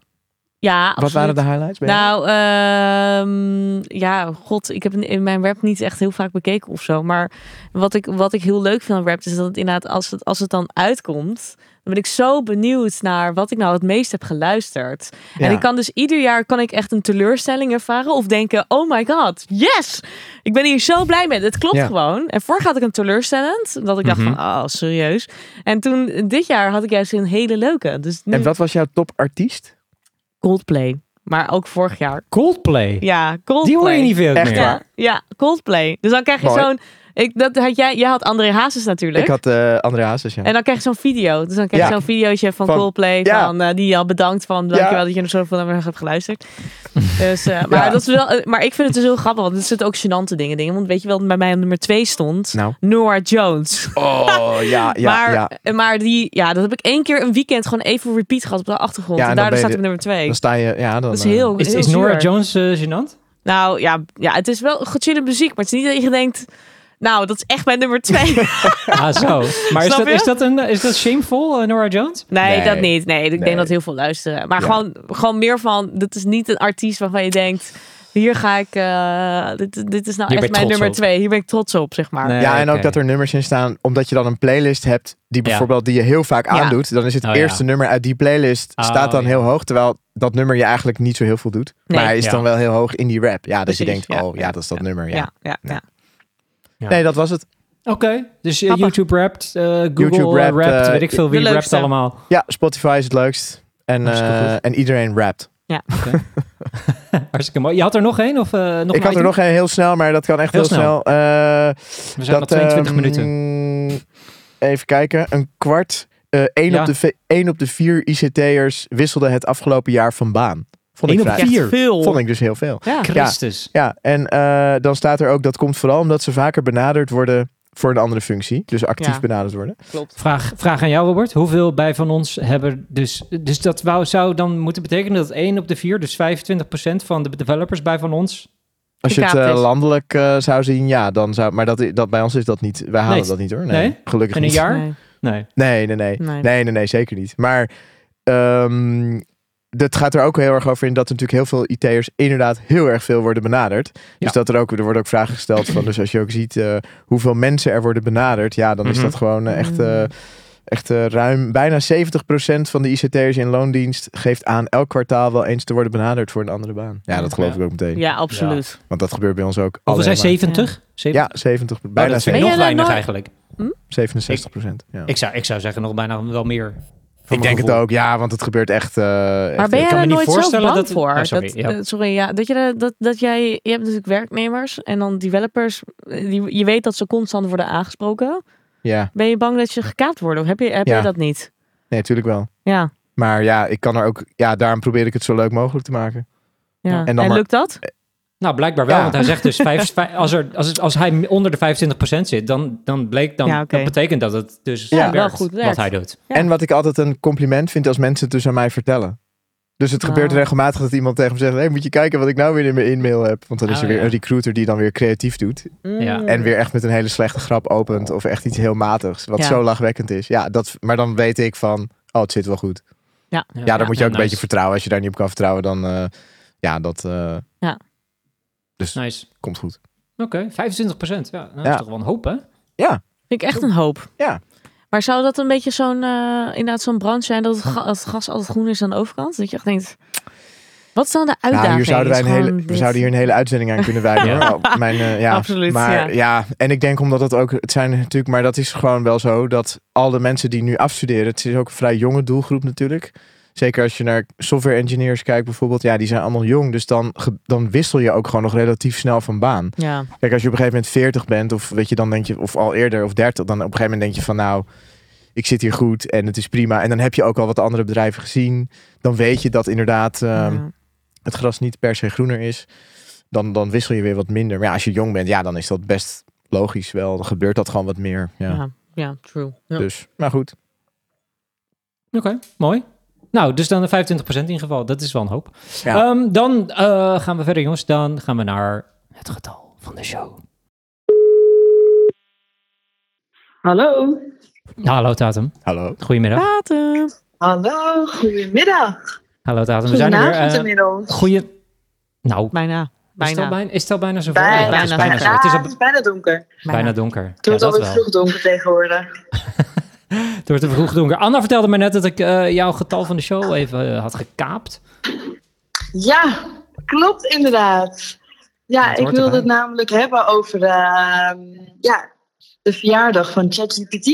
S2: Ja, absoluut.
S3: Wat waren de highlights? bij
S2: Nou,
S3: jou?
S2: ehm, ja, god, ik heb in mijn rap niet echt heel vaak bekeken of zo. Maar wat ik, wat ik heel leuk vind aan rap is dat het inderdaad, als het, als het dan uitkomt, dan ben ik zo benieuwd naar wat ik nou het meest heb geluisterd. En
S3: Ja.
S2: ik kan dus ieder jaar kan ik echt een teleurstelling ervaren of denken, oh my god, yes! Ik ben hier zo blij mee. Het klopt
S3: Ja.
S2: gewoon. En vorig had ik een teleurstellend, dat ik dacht
S1: Mhm.
S2: van, oh, serieus. En toen, dit jaar had ik juist een hele leuke. Dus nu
S3: En wat was jouw topartiest?
S2: Coldplay. Maar ook vorig jaar.
S1: Coldplay.
S2: Ja, Coldplay.
S1: Die hoor je niet veel
S3: Echt
S1: meer.
S3: waar.
S2: Ja, ja, Coldplay. Dus dan krijg je
S3: Mooi.
S2: zo'n Ik, dat had jij, jij had André Hazes natuurlijk.
S3: Ik had eh André Hazes, ja.
S2: En dan krijg je zo'n video. Dus dan krijg je
S3: Ja.
S2: zo'n videootje van,
S3: Van-
S2: Coldplay.
S3: Ja.
S2: Van, eh, die je al bedankt van
S3: Ja.
S2: dankjewel dat je er zoveel naar me hebt geluisterd. dus, eh, maar,
S3: Ja.
S2: dat is wel, eh, maar ik vind het dus heel grappig. Want er zitten ook gênante dingen in. Want weet je wel, wat bij mij op nummer 2 stond.
S3: Nou.
S2: Nora Jones.
S3: Oh, ja, ja,
S2: maar,
S3: ja.
S2: eh, maar die, ja, dat heb ik één keer een weekend gewoon even repeat gehad op de achtergrond.
S3: Ja,
S2: en,
S3: en dan
S2: daardoor staat
S3: ben
S2: ik op nummer 2.
S3: Dan sta je, ja, dan...
S2: Dat is
S3: eh,
S2: heel,
S1: Is,
S2: heel
S1: is Nora
S2: zuur.
S1: Jones eh, gênant?
S2: Nou ja, ja, het is wel gechille muziek. Maar het is niet dat je denkt, nou dat is echt mijn nummer 2.
S1: Ah, zo. Maar is
S2: Snap
S1: dat,
S2: je?
S1: is dat, een, is dat shameful, eh, Nora Jones?
S2: Nee,
S3: Nee.
S2: dat niet. Nee, ik
S3: Nee.
S2: denk dat heel veel luisteren. Maar
S3: Ja.
S2: gewoon, gewoon meer van, dit is niet een artiest waarvan je denkt, hier ga ik, eh, dit, dit is nou
S1: Hier ben je
S2: echt mijn
S1: trots
S2: nummer
S1: op.
S2: twee. Hier ben ik trots op, zeg maar.
S1: Nee,
S3: Ja, en ook
S1: oké.
S3: dat er nummers in staan, omdat je dan een playlist hebt die bijvoorbeeld die je heel vaak
S2: Ja.
S3: aandoet. Dan is het
S1: Oh, ja.
S3: eerste nummer uit die playlist
S1: Oh,
S3: staat dan
S1: ja.
S3: heel hoog, terwijl dat nummer je eigenlijk niet zo heel veel doet.
S2: Nee.
S3: maar hij is
S1: Ja.
S3: dan wel heel hoog in die rap. Ja, dat je
S2: Precies,
S3: denkt,
S2: ja.
S3: oh ja, dat is dat nummer. Ja.
S2: Ja, ja, ja.
S1: Ja.
S3: Nee, dat was het.
S1: Oké, dus eh,
S2: Grappig.
S1: YouTube rapt, eh, Google
S3: YouTube
S1: eh,
S3: rapt,
S1: rapt,
S3: eh,
S1: weet ik veel wie
S2: de
S1: rapt
S2: leukste.
S1: allemaal.
S3: Ja, Spotify is het leukst. En,
S1: Hartstikke
S3: eh,
S1: goed.
S3: en iedereen rapt.
S1: Hartstikke mooi. Je had er nog één? Of, eh, nog een
S3: ik had er
S1: item?
S3: nog een heel snel, maar dat kan echt heel,
S1: Heel
S3: snel. Eh,
S1: We zijn
S3: dat,
S1: al 22
S3: ehm,
S1: minuten.
S3: Even kijken, een kwart. eh één,
S1: Ja.
S3: op de, ve- één op de vier ICT'ers wisselde het afgelopen jaar van baan. Vond ik
S1: Eén op
S3: vrij-
S2: Echt
S1: Vier.
S2: veel.
S3: Vond ik dus heel veel.
S2: Ja.
S1: Christus.
S3: Ja, en eh, dan staat er ook, dat komt vooral omdat ze vaker benaderd worden voor een andere functie. Dus actief
S2: Ja.
S3: benaderd worden.
S1: Vraag, vraag aan jou, Robert. Hoeveel bij van ons hebben dus... Dus dat wou, zou dan moeten betekenen dat 1 op de 4, dus 25% van de developers bij van ons...
S3: Als je het
S2: Gekaapt
S3: eh,
S2: is.
S3: landelijk eh, zou zien, ja, dan zou... Maar dat, i- dat, bij ons is dat niet... Wij halen
S1: Nee.
S3: dat niet hoor. Nee,
S1: Nee?
S3: gelukkig
S1: In een
S3: niet.
S1: jaar?
S2: Nee.
S1: Nee.
S3: Nee, nee, nee.
S2: Nee.
S3: Nee, nee, nee, zeker niet. Maar ehm dat gaat er ook heel erg over in dat er natuurlijk heel veel IT'ers inderdaad heel erg veel worden benaderd.
S1: Ja.
S3: Dus dat er ook, er worden ook vragen gesteld van, dus als je ook ziet eh, hoeveel mensen er worden benaderd, ja, dan is
S1: Mhm.
S3: dat gewoon eh, echt, eh,
S2: Mm.
S3: echt eh, ruim, bijna 70% van de ICT'ers in loondienst geeft aan elk kwartaal wel eens te worden benaderd voor een andere baan. Ja, dat geloof
S1: Ja.
S3: ik ook meteen.
S2: Ja, absoluut.
S3: Want dat gebeurt bij ons ook
S1: Hoeveel zijn
S3: alleen
S1: 70?
S3: maar.
S1: 70?
S3: Ja, 70, bijna
S1: dat vind ik
S2: Ben
S3: 70,
S1: nog
S2: jij daar
S1: weinig
S2: nooit-
S1: eigenlijk.
S3: 67 procent. Ja.
S1: Ik zou, ik zou zeggen nog bijna wel meer. Voor
S3: Ik
S1: mijn
S3: denk het
S1: gevoel.
S3: ook, ja, want het gebeurt echt... eh, echt
S2: Maar ben jij
S3: heel
S1: kan
S2: daar
S1: me niet
S2: nooit zo
S1: voorstellen
S2: bang
S1: dat-
S2: voor?
S1: Oh, sorry,
S2: dat,
S1: ja.
S2: eh, sorry, ja. Dat, je, de- dat, dat jij, je hebt natuurlijk werknemers en dan developers. eh, Die, je weet dat ze constant worden aangesproken.
S3: Ja,
S2: Ben je bang dat ze gekaapt worden? Of heb je, heb
S3: Ja.
S2: je dat niet?
S3: nee, natuurlijk wel.
S2: Ja.
S3: Maar ja, ik kan er ook, ja, daarom probeer ik het zo leuk mogelijk te maken.
S2: ja.
S1: Ja. En
S2: En,
S3: dan maar-
S2: lukt dat?
S1: Nou, blijkbaar wel,
S3: Ja.
S1: want hij zegt dus... Vijf, vijf- als, er, als, het, als hij onder de 25% zit, dan, dan, bleek, dan,
S2: Ja, oké.
S1: dat betekent dat het dus
S3: Ja,
S1: werkt,
S2: wel goed
S1: wat
S2: werkt.
S1: hij doet.
S2: Ja.
S3: En wat ik altijd een compliment vind als mensen het dus aan mij vertellen. Dus het gebeurt
S2: Oh.
S3: regelmatig dat iemand tegen me zegt: hey, moet je kijken wat ik nou weer in mijn e-mail heb? Want dan is
S1: Oh,
S3: er weer
S1: ja.
S3: een recruiter die dan weer creatief doet.
S1: Ja.
S2: Mm.
S3: En weer echt met een hele slechte grap opent. Of echt iets heel matigs. Wat
S2: Ja.
S3: zo lachwekkend is. Ja, dat, maar dan weet ik van: oh, het zit wel goed. Ja, daar moet je ook een beetje vertrouwen. Als je daar niet op kan vertrouwen, dan. eh, ja, dat eh,
S1: voor... Nice.
S3: komt goed.
S1: Oké, 25%. Ja, nou, dat
S3: Ja.
S1: is toch wel een hoop, hè?
S2: Vind ik echt een hoop.
S3: Ja.
S2: Maar zou dat een beetje zo'n eh, inderdaad zo'n branche zijn dat het, ga- dat het gas altijd groen is aan de overkant? Dat je echt denkt, wat is dan de uitdaging?
S3: Nou, hier zouden wij
S2: Is
S3: een hele,
S2: gewoon
S3: we
S2: dit.
S3: zouden hier een hele uitzending aan kunnen wijden.
S1: Ja.
S3: hoor. Oh, Mijn, eh, ja.
S2: Absoluut,
S3: Maar ja. en ik denk omdat dat ook, het zijn natuurlijk, maar dat is gewoon wel zo dat al de mensen die nu afstuderen, het is ook een vrij jonge doelgroep natuurlijk. Zeker als je naar software engineers kijkt bijvoorbeeld, ja, die zijn allemaal jong. Dus dan, ge- dan wissel je ook gewoon nog relatief snel van baan.
S2: Ja,
S3: Kijk, als je op een gegeven moment 40 bent, of weet je, dan denk je, of al eerder, of 30, dan op een gegeven moment denk je van nou, ik zit hier goed en het is prima. En dan heb je ook al wat andere bedrijven gezien. Dan weet je dat inderdaad. ehm,
S2: ja.
S3: het gras niet per se groener is, dan, dan wissel je weer wat minder. Maar ja, als je jong bent, ja, dan is dat best logisch wel. Dan gebeurt dat gewoon wat meer. Ja.
S2: ja. ja, true. Ja.
S3: Dus, maar goed.
S1: Oké, mooi. Nou, dus dan de 25% in ieder geval. Dat is wel een hoop.
S3: Ja.
S1: Ehm, dan eh, gaan we verder, jongens. Dan gaan we naar het getal van de show.
S4: Hallo.
S1: Nou, Hallo Tatum.
S3: Hallo.
S1: Goedemiddag.
S2: Datum.
S4: Hallo, goedemiddag.
S1: Hallo Tatum. We zijn er
S4: Goedenavond
S1: weer. eh,
S4: inmiddels.
S1: goeie... Nou,
S2: Bijna.
S1: is het, al
S2: Bijna.
S1: bijna, is het al bijna zover?
S4: Bijna,
S1: Ja, het is
S2: bijna.
S1: bijna zo. Het is al
S4: Ah, het is bijna donker.
S1: bijna donker.
S4: Het wordt
S1: ja, dat
S4: alweer
S1: wel.
S4: vroeg donker tegenwoordig.
S1: Het wordt vroeg donker. Anna vertelde me net dat ik eh, jouw getal van de show even eh, had gekaapt.
S4: Ja, klopt inderdaad.
S1: Ja,
S4: Ja,
S1: het
S4: ik
S1: hoort
S4: wilde
S1: erbij.
S4: het namelijk hebben over ehm, ja, de verjaardag van ChatGPT.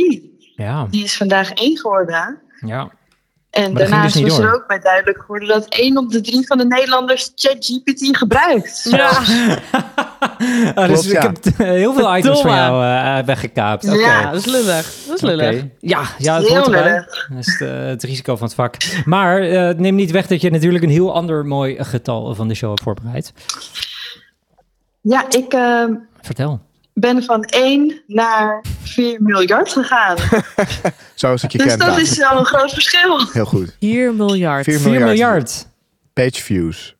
S1: Ja,
S4: Die is vandaag één geworden.
S1: ja.
S4: En
S1: Maar dat ging
S4: daarnaast
S1: dus niet
S4: is er
S1: door.
S4: ook bij duidelijk geworden dat één op de drie van de Nederlanders ChatGPT gebruikt.
S2: Ja.
S1: Oh, dus
S3: Klopt,
S1: ik
S3: ja.
S1: heb eh, heel veel items van
S2: Verdomme.
S1: jou eh, weggekaapt. Oké.
S4: Ja.
S2: Ja, dat is lullig. Dat is
S1: Oké.
S2: lullig.
S1: Ja, ja, het
S4: Heel
S1: hoort erbij.
S4: lullig.
S1: Dat is eh, het risico van het vak. Maar eh, neem niet weg dat je natuurlijk een heel ander mooi getal van de show hebt voorbereid.
S4: Ja, ik ehm,
S1: Vertel.
S4: ben van 1 naar 4 miljard gegaan.
S3: Zoals ik je
S4: Dus
S3: ken.
S4: dat
S3: Daan.
S4: is wel een groot verschil.
S3: Heel goed.
S2: 4 miljard.
S3: 4
S1: 4
S3: miljard.
S1: miljard.
S3: Page views.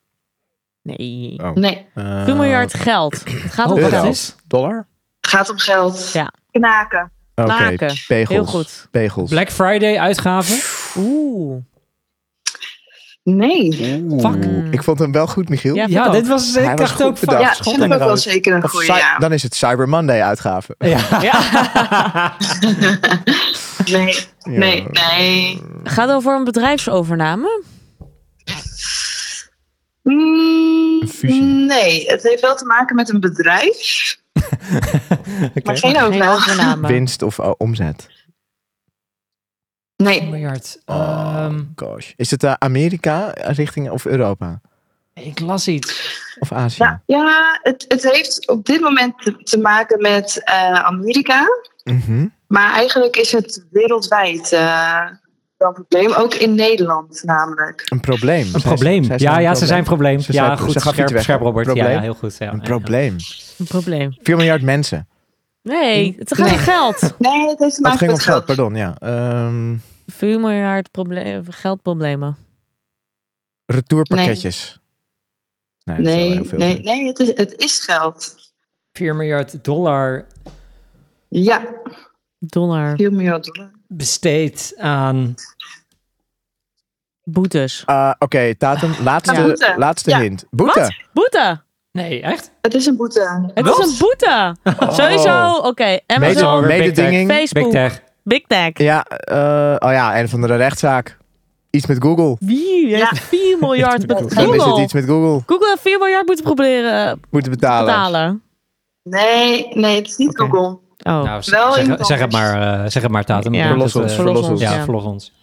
S2: Nee.
S3: Oh.
S4: Nee,
S3: Eh,
S2: 4 miljard geld. Het gaat om
S3: euro.
S2: geld.
S1: Oh, is?
S3: Dollar?
S4: gaat om geld.
S2: Ja.
S4: Knaken.
S3: Oké,
S2: Laken.
S3: pegels.
S2: Heel goed.
S3: Pegels.
S1: Black Friday uitgaven.
S2: Oeh.
S4: Nee.
S1: Fuck.
S3: Oeh, Ik vond hem wel goed, Michiel.
S2: Ja,
S1: Ja,
S2: vertel.
S1: dit was.
S3: Hij
S1: ik
S3: was
S1: dacht
S3: goed
S1: ook van.
S3: bedacht.
S4: Ja,
S3: schot
S4: vind ik ook
S3: inderdaad.
S4: wel zeker een
S3: Of
S4: goede.
S3: Cy-
S4: Ja.
S3: Dan is het Cyber Monday uitgave.
S1: Ja.
S4: Nee, nee, nee.
S2: Gaat het over een bedrijfsovername?
S4: Mm,
S3: Een fusie.
S4: Nee, het heeft wel te maken met een bedrijf, maar
S1: Oké.
S4: geen
S2: Geen
S4: overname.
S2: overname.
S3: Winst of eh, omzet.
S1: Een
S4: Nee,
S1: miljard.
S3: Oh,
S1: Ehm,
S3: gosh. Is het eh, Amerika richting of Europa?
S1: ik las iets.
S3: Of Azië?
S4: nou, ja, het, het heeft op dit moment te, te maken met eh, Amerika,
S3: Mhm.
S4: maar eigenlijk is het wereldwijd eh, wel een probleem, ook in Nederland namelijk.
S3: Een probleem. Zij-
S1: Een probleem.
S3: zij
S1: ja,
S3: zijn
S1: ja,
S3: een
S1: ze zijn probleem.
S3: Ze
S1: ja,
S3: zijn-
S1: goed.
S3: ze gaf
S1: scherp,
S3: iets weg.
S1: scherp, Robert. Ja,
S3: Probleem.
S1: Ja, heel goed. Ja,
S3: Een
S1: ja.
S3: probleem.
S2: Een probleem.
S3: 4 miljard mensen.
S2: Nee, het gaat om geld.
S4: Nee, het heeft te
S3: Dat
S4: maken
S3: ging om
S4: met
S3: geld,
S4: geld.
S3: pardon. Ja. Ehm,
S2: 4 miljard proble- geldproblemen.
S3: retourpakketjes. dat is wel
S4: Nee,
S3: heel veel.
S4: nee, nee het, is, het is geld.
S1: 4 miljard dollar
S4: Ja,
S2: Dollar.
S4: 4 miljard dollar.
S1: besteed aan.
S2: Boetes.
S3: Eh, Oké, Tatum, laatste,
S4: Aan boete.
S3: laatste
S4: Ja.
S3: hint. Boete.
S2: Wat? Boete.
S1: Nee, echt?
S4: Het is een boete.
S2: Het
S1: Wat?
S2: is een boete.
S1: Oh.
S2: Sowieso. Oké.
S3: Oh. Mede-
S2: Amazon.
S1: Medehonger,
S3: Mededinging.
S1: Big
S2: Facebook.
S1: Tech.
S2: Big Tech.
S3: Ja, eh, oh ja, een van de rechtszaak. Iets met Google.
S2: Wie heeft
S4: Ja.
S2: 4 miljard met
S3: Dan is het
S2: Google?
S3: iets met Google.
S2: Google heeft 4 miljard moeten proberen eh,
S3: Moeten betalen.
S2: betalen.
S4: Nee, nee, het is niet
S3: Oké.
S4: Google.
S2: Oh.
S1: Nou, zeg,
S4: Wel
S1: zeg-
S4: iemand
S1: zeg het maar, eh, zeg het maar, Tatum.
S2: Ja.
S1: Ik denk
S3: Verlos
S1: dat,
S3: ons,
S1: eh,
S3: verlos ons.
S1: Ja,
S2: Ja.
S1: verlos ons.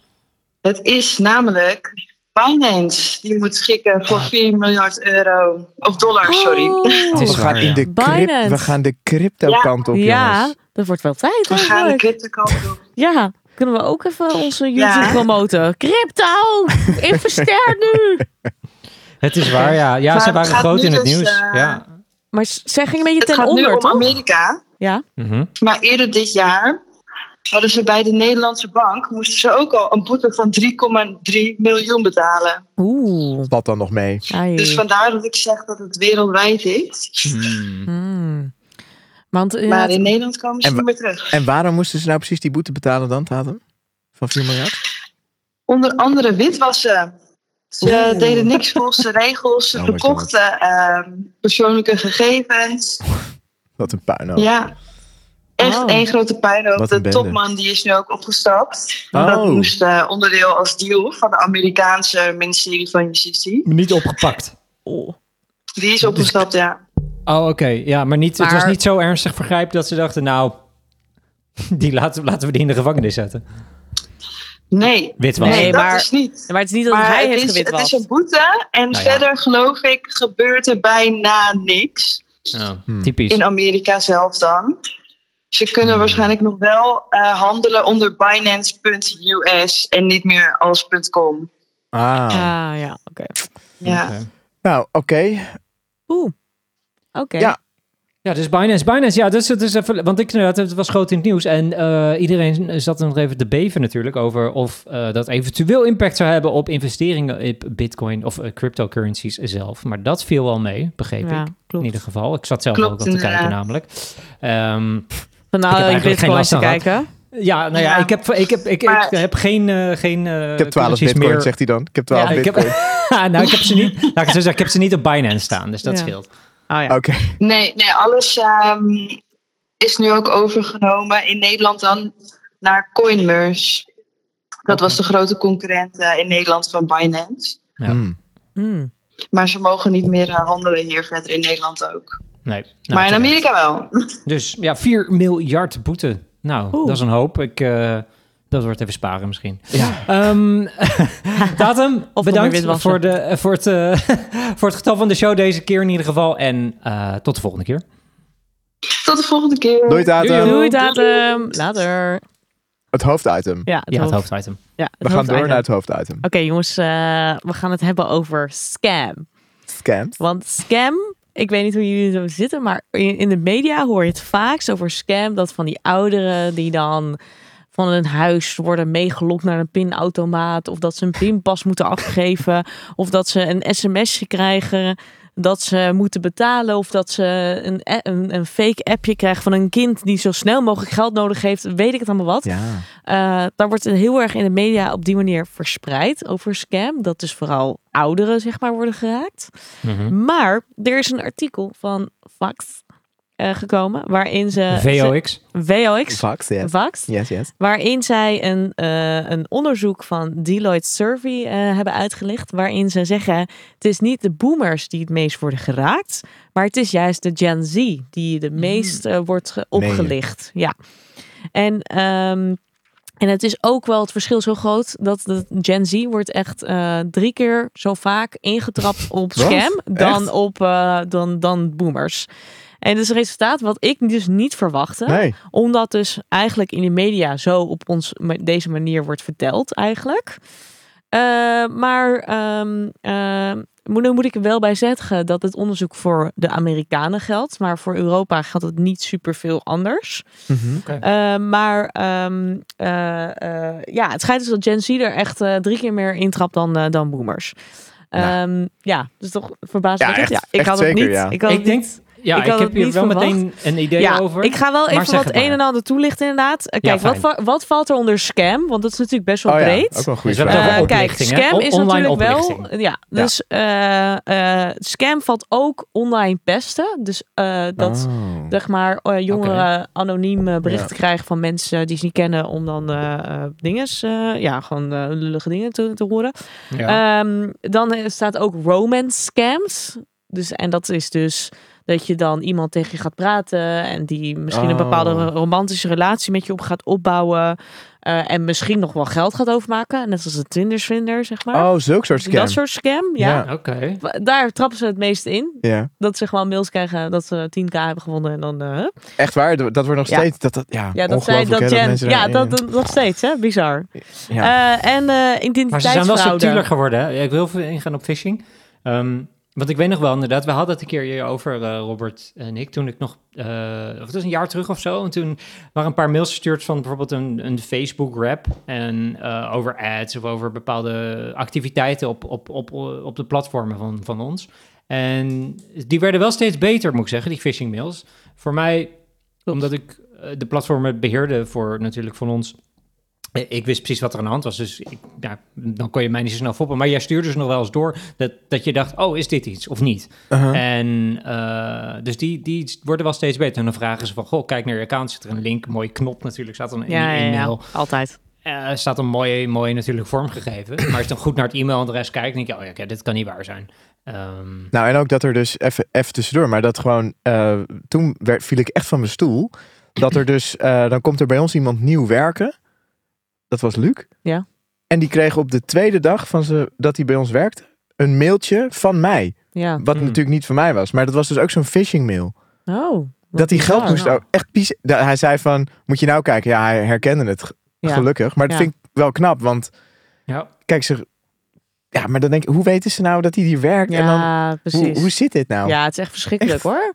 S4: Het is namelijk Binance die moet schikken voor 4 miljard euro. Of dollar, Ah,
S2: Oh,
S4: sorry.
S1: Het
S3: We
S1: is
S3: gaan,
S1: waar, ja.
S3: in de crypt,
S2: Binance.
S3: we gaan de crypto
S4: Ja.
S3: kant op,
S2: Ja,
S3: jongens.
S2: dat wordt wel tijd.
S4: We gaan de
S2: eigenlijk.
S4: crypto kant op.
S2: Ja, kunnen we ook even onze YouTube
S4: Ja.
S2: promoten? Crypto! Investeer nu!
S1: Het is waar, ja. Ja,
S4: Maar
S1: ze
S4: het
S1: waren
S4: gaat
S1: groot
S4: nu
S1: in het
S4: dus,
S1: nieuws.
S4: eh,
S1: ja.
S2: Maar s- zij gingen een beetje
S4: Het
S2: ten
S4: gaat nu
S2: onder,
S4: om
S2: toch?
S4: Amerika.
S2: Ja.
S1: Mhm.
S4: Maar eerder dit jaar hadden ze bij de Nederlandse bank... moesten ze ook al een boete van 3,3 miljoen betalen.
S2: Oeh.
S3: Wat dan nog mee?
S2: Ai.
S4: Dus vandaar dat ik zeg dat het wereldwijd is.
S2: Hmm. Want eh,
S4: Maar
S2: inderdaad,
S4: in Nederland komen ze
S3: En
S4: niet meer terug.
S3: En waarom moesten ze nou precies die boete betalen dan, Tatum? Van 4 miljard?
S4: Onder andere witwassen. Ze
S2: Oeh.
S4: deden niks volgens de regels. Ze
S3: Oh my God.
S4: verkochten ehm, persoonlijke gegevens.
S3: Wat een puinhoop.
S4: Ja. Echt
S2: Oh.
S4: één grote puinhoop.
S3: Wat een
S4: De
S3: bende.
S4: topman die is nu ook opgestapt.
S3: Oh.
S4: Dat moest eh, onderdeel als deal van de Amerikaanse ministerie van Justitie.
S1: Niet opgepakt.
S2: oh,
S4: Die is opgestapt, ja.
S1: Oh, oké. Ja, maar, niet, het
S2: Maar-
S1: was niet zo ernstig vergrijp dat ze dachten, nou, die laten, laten we die in de gevangenis zetten.
S4: Nee,
S1: Witwassen.
S4: nee,
S2: Nee,
S4: dat
S2: maar-
S4: is niet.
S2: maar het is niet dat
S4: Maar
S2: hij
S4: het
S2: heeft
S4: is,
S2: gewit
S4: het is
S2: was.
S4: een boete. En
S1: Nou ja.
S4: verder, geloof ik, gebeurt er bijna niks.
S1: Ja,
S3: Hmm.
S1: Typisch.
S4: In Amerika zelf dan. Ze kunnen
S1: Hmm.
S4: waarschijnlijk nog wel eh, handelen onder Binance.us en niet meer als .com.
S3: Ah.
S2: Ah, ja, oké.
S4: Ja.
S1: Oké.
S3: Nou, oké.
S2: Oeh. Oké.
S3: Ja.
S1: Ja, dus Binance, Binance, ja, dus het is even, want ik inderdaad, het was groot in het nieuws en eh, iedereen zat er nog even te beven natuurlijk over of eh, dat eventueel impact zou hebben op investeringen in bitcoin of eh, cryptocurrencies zelf. Maar dat viel wel mee, begreep
S2: Ja,
S1: ik. In
S2: klopt.
S1: ieder geval, ik zat zelf
S4: Klopt,
S1: ook al te kijken
S4: inderdaad.
S1: namelijk. Ehm,
S2: Van
S1: Ik heb
S2: nou, ik
S1: eigenlijk geen
S2: bitcoin
S1: last
S2: te
S1: van gehad.
S2: kijken.
S1: ja, nou ja,
S4: Ja.
S1: ik heb, ik heb, ik,
S4: Maar-
S1: ik heb geen, eh, geen eh,
S3: Ik heb 12
S1: currencies
S3: bitcoin, zegt hij dan. Ik heb 12
S1: Ja, ik heb,
S3: bitcoin.
S1: nou, ik heb ze niet, laat ik het zo zeggen, ik heb ze niet op Binance staan, dus dat
S2: Ja.
S1: scheelt.
S2: Oh ja.
S3: Oké.
S4: Nee, nee alles ehm, is nu ook overgenomen in Nederland dan naar Coinmerge. Dat was de grote concurrent eh, in Nederland van Binance.
S1: Ja.
S3: Hmm.
S2: Hmm.
S4: Maar ze mogen niet meer eh, handelen hier verder in Nederland ook.
S1: Nee, nou,
S4: maar in
S1: terecht.
S4: Amerika wel.
S1: Dus ja, 4 miljard boete. Nou,
S2: Oeh.
S1: dat is een hoop. Ik, eh, dat wordt even sparen misschien.
S3: Ja.
S1: Ehm Datum,
S2: nog meer
S1: bedankt
S2: witwassen.
S1: voor, de, voor, het, eh, voor het getal van de show deze keer in ieder geval. En eh, tot de volgende keer.
S4: Tot de volgende keer.
S3: Doei datum.
S1: Doei.
S2: Doei, datum. Later.
S3: Het hoofditem.
S2: Ja, het
S1: Ja, het
S2: hoofd-
S1: hoofditem.
S2: ja, het
S3: We gaan door
S2: hoofditem.
S3: naar het hoofditem.
S2: Oké, jongens, eh, we gaan het hebben over scam.
S3: Scams.
S2: Want scam, ik weet niet hoe jullie zo zitten, maar in, in de media hoor je het vaakst over scam. Dat van die ouderen die dan van hun huis worden meegelokt naar een pinautomaat. Of dat ze een pinpas moeten afgeven. Of dat ze een sms'je krijgen dat ze moeten betalen. Of dat ze een, a- een, een fake appje krijgen van een kind die zo snel mogelijk geld nodig heeft. Weet ik het allemaal wat.
S3: Ja.
S2: Eh, daar wordt heel erg in de media op die manier verspreid over scam. Dat dus vooral ouderen, zeg maar, worden geraakt.
S1: Mhm.
S2: Maar er is een artikel van Vax eh, gekomen waarin
S1: Eh,
S2: ze
S1: VOX.
S2: Eh, ze- VOX
S3: Vax, yes.
S2: Vax,
S3: Yes, yes.
S2: waarin zij een, eh, een onderzoek van Deloitte Survey eh, hebben uitgelicht, waarin ze zeggen het is niet de boomers die het meest worden geraakt, maar het is juist de Gen Z die de meest eh, wordt ge-
S3: Mhm. Nee.
S2: opgelicht. Ja. En, ehm, en het is ook wel het verschil zo groot dat de Gen Z wordt echt eh, drie keer zo vaak ingetrapt op
S3: Wat?
S2: scam dan,
S3: Echt?
S2: op, eh, dan, dan boomers. En dat is een resultaat wat ik dus niet verwachtte
S3: Nee.
S2: omdat dus eigenlijk in de media zo op ons ma- deze manier wordt verteld eigenlijk. Eh, maar ehm ehm, moet, dan moet ik er wel bij zeggen dat het onderzoek voor de Amerikanen geldt. Maar voor Europa geldt het niet super veel anders. Eh, maar ehm, eh, eh, ja, het schijnt dus dat Gen Z er echt eh, drie keer meer intrapt dan, eh, dan boomers.
S3: Nou.
S2: Ehm, ja, dus toch verbazend.
S3: Ja, echt-
S2: ik
S3: echt
S2: had het
S3: zeker,
S2: niet.
S3: ja.
S2: Ik, had het
S1: Ik denk, ja,
S2: ik
S1: ik,
S2: had
S1: heb
S2: het
S1: hier
S2: niet
S1: wel
S2: verwacht.
S1: meteen een idee over.
S2: Ik ga wel
S1: Maar
S2: even
S1: zeg
S2: wat
S1: het
S2: een
S1: maar.
S2: en ander toelichten inderdaad. Eh, Kijk, wat,
S1: fijn.
S2: va- wat valt er onder scam? Want dat is natuurlijk best wel
S3: Oh ja,
S2: breed.
S3: ook wel een goede
S1: Is nou wel
S3: vraag.
S1: een
S2: Eh, kijk,
S1: oplichting, hè?
S2: scam
S1: O-
S2: is
S1: online
S2: natuurlijk wel.
S1: oplichting.
S2: Ja, dus eh, eh, scam valt ook online pesten. Dus eh, dat
S1: Ah.
S3: Oh.
S2: zeg maar eh, jongeren anoniem eh, berichten krijgen van mensen die ze niet kennen om dan eh eh, dinges, eh, ja, gewoon eh, lullige dingen te, te horen.
S1: Ja.
S2: Ehm, dan eh, staat ook romance scams. Dus, en dat is dus dat je dan iemand tegen je gaat praten en die misschien een
S3: Oh.
S2: bepaalde ro- romantische relatie met je op gaat opbouwen eh, en misschien nog wel geld gaat overmaken. Net als de Tindersvinder, zeg maar.
S3: Oh, zulk soort scam.
S2: Dat soort scam, ja.
S3: Ja.
S1: Oké.
S2: Wa- Daar trappen ze het meest in.
S3: Ja.
S2: Dat ze gewoon mails krijgen dat ze 10k hebben gewonnen en dan... eh, hup.
S3: Echt waar, dat dat wordt nog
S2: Ja.
S3: steeds... Dat, dat, ja,
S2: ja, dat zij
S3: ongelooflijk,
S2: dat
S3: hè,
S2: Jen...
S3: mensen
S2: ja,
S3: daarin-
S2: dat, dat nog steeds, hè. Bizar.
S3: ja.
S2: Eh, en eh
S1: Maar ze zijn wel
S2: identiteitsfraude.
S1: subtieler geworden. Hè? Ja, Ik wil even ingaan op phishing. Ehm, want ik weet nog wel inderdaad, we hadden het een keer hierover, over eh, Robert en ik, toen ik nog, eh of het is een jaar terug of zo, en toen waren een paar mails gestuurd van bijvoorbeeld een, een Facebook-rap en eh, over ads of over bepaalde activiteiten op, op, op, op de platformen van, van ons. En die werden wel steeds beter, moet ik zeggen, die phishing mails. Voor mij, omdat ik eh, de platformen beheerde voor natuurlijk van ons, eh, Ik wist precies wat er aan de hand was, dus ik, ja, dan kon je mij niet zo snel foppen. Maar jij stuurde ze nog wel eens door dat, dat je dacht, oh, is dit iets of niet?
S3: Uh-huh.
S1: En eh, dus die, die worden wel steeds beter. En dan vragen ze van, goh, kijk naar je account, zit er een link, mooie knop natuurlijk, staat dan in
S2: Ja,
S1: je
S2: ja, ja,
S1: e-mail.
S2: altijd.
S1: Eh, staat een mooie, mooie natuurlijk vormgegeven. Maar als je dan goed naar het e-mailadres kijkt, dan denk je, oh ja, oké, dit kan niet waar zijn. Ehm,
S3: Nou, en ook dat er dus even, even tussendoor, maar dat gewoon, eh, toen werd, viel ik echt van mijn stoel. Dat er dus, eh, dan komt er bij ons iemand nieuw werken. Dat was Luc.
S2: Ja.
S3: En die kreeg op de tweede dag van ze, dat hij bij ons werkte, een mailtje van mij.
S2: Ja.
S3: Wat
S1: Hmm.
S3: natuurlijk niet van mij was, maar dat was dus ook zo'n phishing mail.
S2: Oh. wat
S3: Dat hij geld
S2: bizar.
S3: moest, oh, echt pies. da- Hij zei van, moet je nou kijken? Ja, hij herkende het, g-
S2: Ja.
S3: gelukkig. Maar dat
S2: Ja.
S3: vind ik wel knap, want
S1: ja.
S3: kijk, ze, ja, maar dan denk ik, hoe weten ze nou dat hij hier werkt? en dan,
S2: Ja, precies.
S3: hoe, hoe zit dit nou?
S2: Ja, het is echt verschrikkelijk
S3: Echt.
S2: hoor.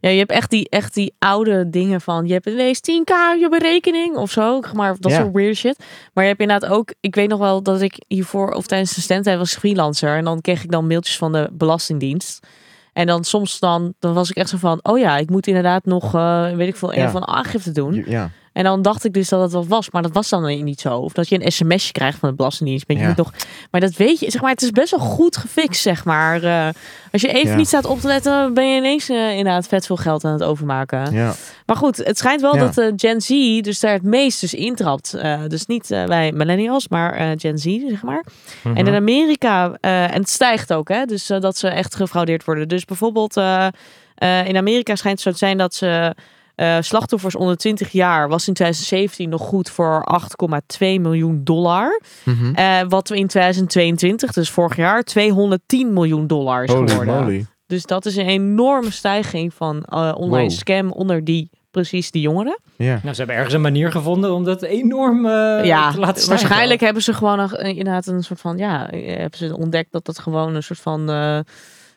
S2: Ja, je hebt echt die, echt die oude dingen van je hebt ineens 10k op je berekening of zo. Maar dat
S3: Ja.
S2: soort weird shit. Maar je hebt inderdaad ook, ik weet nog wel dat ik hiervoor of tijdens de studententijd was ik freelancer. En dan kreeg ik dan mailtjes van de Belastingdienst. En dan soms dan, dan was ik echt zo van, oh ja, ik moet inderdaad nog, eh, weet ik veel, een
S3: Ja.
S2: van aangifte doen.
S3: ja.
S2: En dan dacht ik dus dat dat wat was, maar dat was dan niet zo. Of dat je een sms'je krijgt van de Belastingdienst. Maar, je
S3: Ja.
S2: moet nog, maar dat weet je, zeg maar, het is best wel goed gefixt, zeg maar. Eh, als je even
S3: Ja.
S2: niet staat op te letten, dan ben je ineens eh, inderdaad vet veel geld aan het overmaken.
S3: ja.
S2: Maar goed, het schijnt wel
S3: Ja.
S2: dat eh, Gen Z dus daar het meest dus intrapt. Eh, dus niet eh, wij millennials, maar eh, Gen Z, zeg maar.
S3: Mhm.
S2: En in Amerika, eh, en het stijgt ook, hè, dus eh, dat ze echt gefraudeerd worden. Dus bijvoorbeeld eh, eh, in Amerika schijnt het zo te zijn dat ze eh, slachtoffers onder 20 jaar was in 2017 nog goed voor 8,2 miljoen dollar.
S3: Mhm.
S2: Eh, wat we in 2022, dus vorig jaar, 210 miljoen dollar is
S3: Holy
S2: geworden.
S3: moly.
S2: Dus dat is een enorme stijging van eh, online
S3: Wow.
S2: scam onder die precies de jongeren.
S3: Ja.
S1: Nou, ze hebben ergens een manier gevonden om dat enorm eh,
S2: ja,
S1: te laten stijgen.
S2: waarschijnlijk hebben ze gewoon een, eh, inderdaad een soort van, ja, eh, hebben ze ontdekt dat dat gewoon een soort van eh,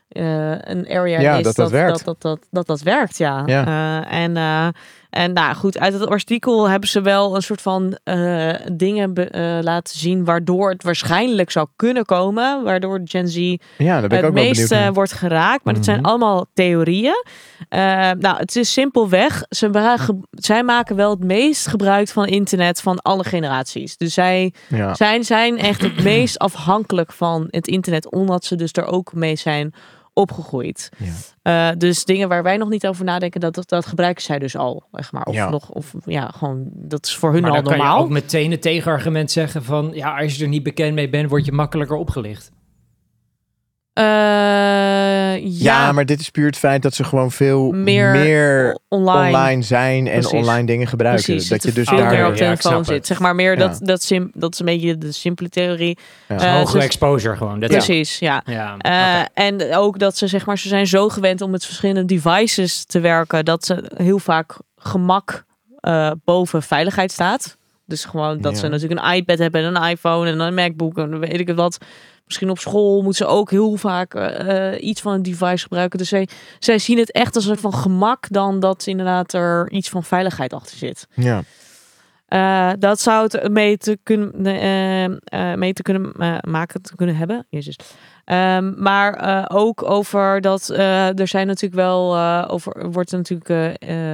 S2: eh, een area
S3: Ja,
S2: is
S3: dat dat
S2: Dat
S3: werkt.
S2: dat, dat, dat dat werkt, ja.
S3: Ja.
S2: Eh, en, eh, en nou goed, uit het artikel hebben ze wel een soort van eh, dingen be- eh, laten zien waardoor het waarschijnlijk zou kunnen komen, waardoor Gen Z
S3: ja, daar ben ik ook
S2: het
S3: wel
S2: meest
S3: benieuwd naar.
S2: eh, wordt geraakt. Maar dat zijn
S1: Mhm.
S2: allemaal theorieën. Eh, nou, het is simpelweg. Ze bra- ge- zij maken wel het meest gebruik van internet van alle generaties. Dus zij
S3: Ja.
S2: zijn, zijn echt het meest afhankelijk van het internet. Omdat ze dus er ook mee zijn opgegroeid.
S3: Ja.
S2: Eh, dus dingen waar wij nog niet over nadenken, dat, dat, dat gebruiken zij dus al. Zeg maar. Of
S3: Ja.
S2: nog, of ja, gewoon, dat is voor hun
S1: Maar
S2: al
S1: dan kan je
S2: normaal.
S1: ook meteen het tegenargument zeggen van... ja, als je er niet bekend mee bent, word je makkelijker opgelicht.
S2: Eh,
S3: Ja,
S2: ja,
S3: maar dit is puur het feit dat ze gewoon veel
S2: Meer
S3: meer,
S2: online.
S3: online. zijn en
S2: Precies.
S3: online dingen gebruiken.
S2: Precies,
S3: dat je dus
S1: veel
S2: daar
S3: daar...
S1: meer
S2: op
S1: Ja, ik
S2: telefoon
S1: snap het.
S2: zit. Zeg maar meer
S3: Ja.
S2: dat, dat, sim, dat is een beetje de simpele theorie.
S3: Ja.
S2: Eh,
S1: Hoge
S2: dus-
S1: exposure gewoon. Dat is,
S2: Precies, ja.
S1: ja, oké.
S2: Eh, En ook dat ze, zeg maar, ze zijn zo gewend om met verschillende devices te werken, dat ze heel vaak gemak eh, boven veiligheid staat. Dus gewoon dat
S3: Ja.
S2: ze natuurlijk een iPad hebben en een iPhone en een MacBook en weet ik het wat. Misschien op school moeten ze ook heel vaak eh, eh, iets van een device gebruiken. Dus zij, zij zien het echt als een soort van gemak dan dat inderdaad er iets van veiligheid achter zit.
S3: Ja.
S2: Eh, dat zou het mee te kunnen, eh, eh, mee te kunnen eh, maken te kunnen hebben. Jezus. Ehm, maar eh, ook over dat eh, er zijn natuurlijk wel eh, over er wordt natuurlijk eh,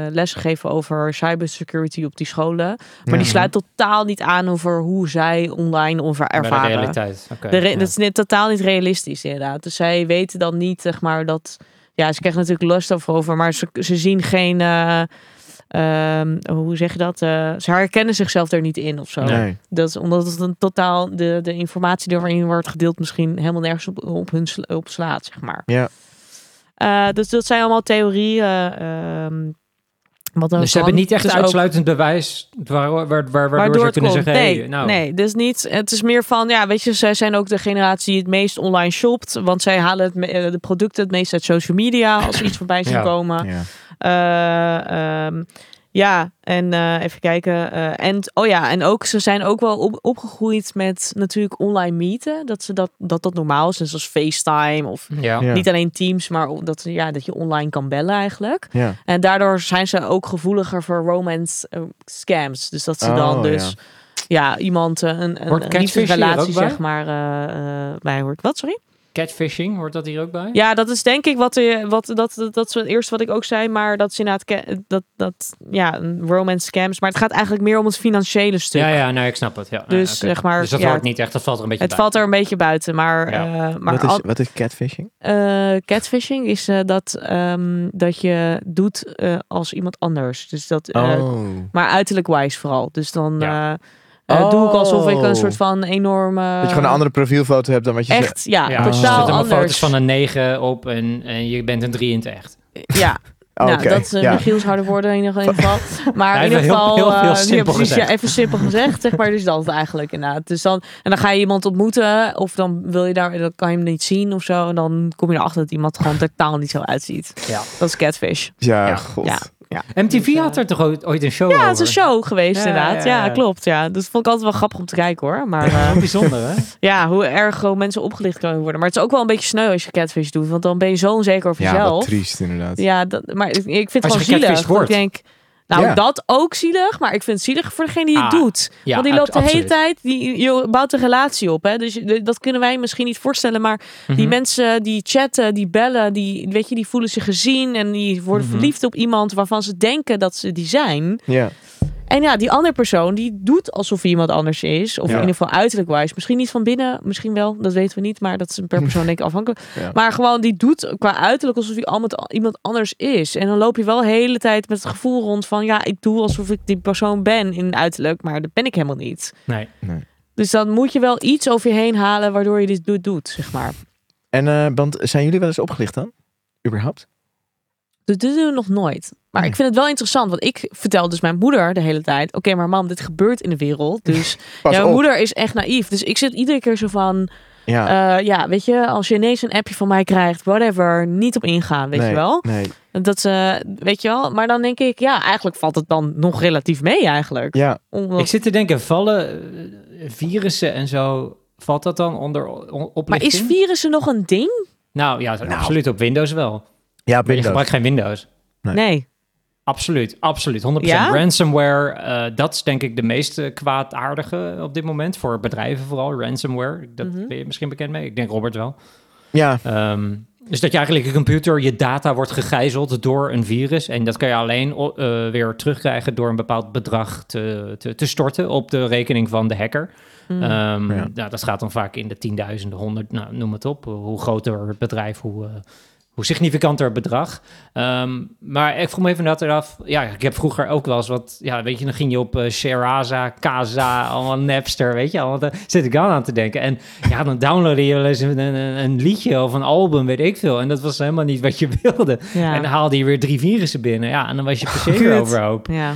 S2: eh, les gegeven over cybersecurity op die scholen. Maar
S3: Ja.
S1: Mhm.
S2: die sluit totaal niet aan over hoe zij online over
S1: Bij
S2: ervaren.
S1: de realiteit. Oké,
S2: De re-
S1: ja.
S2: Dat is net totaal niet realistisch, inderdaad. Dus zij weten dan niet, zeg maar, dat. Ja, ze krijgen natuurlijk lust over, over maar ze, ze zien geen. eh, ehm, hoe zeg je dat? Eh, ze herkennen zichzelf er niet in of zo.
S3: Nee.
S2: Dat is omdat het een totaal. De, de informatie die erin wordt gedeeld, misschien helemaal nergens op, op hun sla- op slaat, zeg maar.
S3: Ja.
S2: Eh, dus dat zijn allemaal theorieën. ehm, wat dan
S1: Dus ze
S2: kan.
S1: hebben niet echt
S2: Dus ook-
S1: uitsluitend bewijs waar, waar, waar, waardoor, ze kunnen zeggen...
S2: Nee,
S1: hey, nou,
S2: nee, dus niet. Het is meer van, ja, weet je, zij zijn ook de generatie die het meest online shopt. Want zij halen het, me- eh, de producten het meest uit social media als ze iets voorbij zien
S1: Ja.
S2: komen.
S3: Ja.
S2: Eh, ehm, ja, en eh, even kijken. eh, en oh ja, en ook ze zijn ook wel op, opgegroeid met natuurlijk online meeten. Dat ze dat, dat, dat normaal is, net zoals FaceTime of
S1: Ja.
S3: Ja.
S2: niet alleen Teams, maar dat, ja, dat je online kan bellen eigenlijk.
S3: Ja.
S2: En daardoor zijn ze ook gevoeliger voor romance eh, scams. Dus dat ze dan
S3: Oh,
S2: dus ja, iemand eh, een,
S1: Hoort
S2: een, een
S1: catfishing hier
S2: liefdesrelatie
S1: ook bij?
S2: zeg maar eh, eh, bij hoort. Wat, sorry?
S1: Catfishing, hoort dat hier ook bij?
S2: Ja, dat is denk ik wat, eh, wat dat, dat, dat is het eerste wat ik ook zei. Maar dat is inderdaad ca- dat, dat, ja, een romance scams. Maar het gaat eigenlijk meer om het financiële stuk.
S1: ja, ja, nou, ik snap het. Ja.
S2: Dus,
S1: Ah, oké.
S2: zeg maar,
S1: dus dat
S2: ja,
S1: hoort niet echt, dat valt er een beetje
S2: Het
S1: bij.
S2: valt er een beetje buiten, maar,
S1: Ja.
S2: eh, maar
S3: wat, is,
S2: al-
S3: wat is catfishing?
S2: eh, catfishing is eh, dat, ehm, dat je doet eh, als iemand anders. Dus dat eh,
S3: oh.
S2: Maar uiterlijk wijs vooral. Dus dan
S1: Ja.
S2: eh, eh, doe ik alsof ik
S3: Oh.
S2: een soort van enorme...
S3: dat je gewoon een andere profielfoto hebt dan wat je zegt.
S2: Eh, Echt, ja,
S1: Ja,
S3: dus
S1: er
S2: totaal
S1: zitten maar
S2: anders.
S1: foto's van een 9 op en, en je bent een 3 in het echt.
S2: Ja,
S3: Oh,
S2: nou,
S3: oké.
S2: dat is eh,
S3: ja.
S2: Michiels harde woorden in ieder geval. Maar
S1: Hij
S2: in ieder
S1: heeft heel-
S2: geval...
S1: heel- heel
S2: eh, ja,
S1: simpel
S2: precies, ja,
S1: gezegd.
S2: even simpel gezegd. Zeg maar, dus dat eigenlijk inderdaad. Dus dan, en dan ga je iemand ontmoeten of dan, wil je daar, dan kan je hem niet zien of zo. En dan kom je erachter dat iemand gewoon totaal niet zo uitziet.
S1: Ja.
S2: Dat is catfish.
S3: Ja,
S1: Ja.
S3: god.
S2: Ja.
S1: MTV had er toch ooit ooit een show
S2: Ja,
S1: over?
S2: het is een show geweest
S1: Ja,
S2: inderdaad.
S1: ja,
S2: Ja,
S1: ja.
S2: klopt. Ja. Dus vond ik altijd wel grappig om te kijken hoor. Maar... eh,
S1: Bijzonder, hè?
S2: Ja, hoe erg gewoon mensen opgelicht kunnen worden. Maar het is ook wel een beetje sneu als je catfish doet. Want dan ben je zo onzeker over
S3: Ja, wat
S2: jezelf.
S3: triest inderdaad.
S2: Ja, dat, maar ik, ik vind
S1: Als
S2: het gewoon
S1: je
S2: zielig.
S1: gecatfished
S2: Dat
S1: wordt.
S2: Ik denk, nou
S3: Ja.
S2: dat ook zielig. Maar ik vind het zielig voor degene die het
S1: Ah,
S2: doet.
S1: ja,
S2: want die
S1: ab-
S2: loopt de hele
S1: absoluut.
S2: tijd, die je bouwt een relatie op. Hè? Dus je- dat kunnen wij misschien niet voorstellen. Maar die
S1: Mhm.
S2: mensen die chatten, die bellen, die, weet je, die voelen zich gezien. En die worden
S1: Mhm.
S2: verliefd op iemand waarvan ze denken dat ze die zijn.
S3: Ja.
S2: En ja, die andere persoon die doet alsof hij iemand anders is. Of
S3: Ja.
S2: in ieder geval uiterlijk wijs. Misschien niet van binnen, misschien wel. Dat weten we niet. Maar dat is per persoon denk ik afhankelijk.
S3: Ja.
S2: Maar gewoon die doet qua uiterlijk alsof hij allemaal- iemand anders is. En dan loop je wel de hele tijd met het gevoel rond van... Ja, ik doe alsof ik die persoon ben in uiterlijk. Maar dat ben ik helemaal niet.
S1: Nee.
S2: Dus dan moet je wel iets over je heen halen waardoor je dit doet, doet zeg maar.
S3: En eh, want zijn jullie wel eens opgelicht dan? Überhaupt?
S2: Dus dit doen we nog nooit. Maar ik vind het wel interessant, want ik vertel dus mijn moeder de hele tijd... Oké, maar mam, dit gebeurt in de wereld, dus...
S3: Pas
S2: ja,
S3: op.
S2: mijn moeder is echt naïef. Dus ik zit iedere keer zo van...
S3: ja.
S2: eh, ja, weet je, als je ineens een appje van mij krijgt, whatever, niet op ingaan, weet
S3: nee,
S2: je wel.
S3: Nee.
S2: Dat ze, weet je wel. Maar dan denk ik, ja, eigenlijk valt het dan nog relatief mee eigenlijk.
S3: Ja,
S2: Omdat-
S1: Ik zit te denken, vallen eh, virussen en zo, valt dat dan onder o- o-
S2: maar is
S1: oplichting?
S2: virussen nog een ding?
S1: Nou ja, absoluut op Windows wel. Maar
S3: ja
S1: je
S3: Windows.
S1: gebruikt geen Windows.
S3: Nee.
S2: Nee.
S1: Absoluut, absoluut. 100%
S2: Ja?
S1: ransomware. eh, dat is denk ik de meest eh, kwaadaardige op dit moment. Voor bedrijven vooral, ransomware. Dat
S2: Mhm.
S1: ben je misschien bekend mee. Ik denk Robert wel.
S3: Ja,
S1: Ehm, dus dat je eigenlijk je computer, je data wordt gegijzeld door een virus. En dat kan je alleen o- eh, weer terugkrijgen door een bepaald bedrag te, te, te storten op de rekening van de hacker.
S2: Mm.
S1: Ehm,
S3: Ja.
S1: nou, dat gaat dan vaak in de tienduizenden, honderd, nou, noem het op. Hoe groter het bedrijf, hoe, eh, hoe significanter het bedrag. Ehm, maar ik vroeg me even dat eraf. Ja, ik heb vroeger ook wel eens wat. Ja, weet je, dan ging je op eh Sheraza, Kaza, allemaal Napster, weet je. Allemaal, daar zit ik al aan te denken. En ja, dan downloadde je wel eens een, een, een liedje of een album, weet ik veel. En dat was helemaal niet wat je wilde.
S2: Ja.
S1: En dan haalde je weer drie virussen binnen. Ja, en dan was je per se
S2: Kut.
S1: weer overhoop.
S2: ja.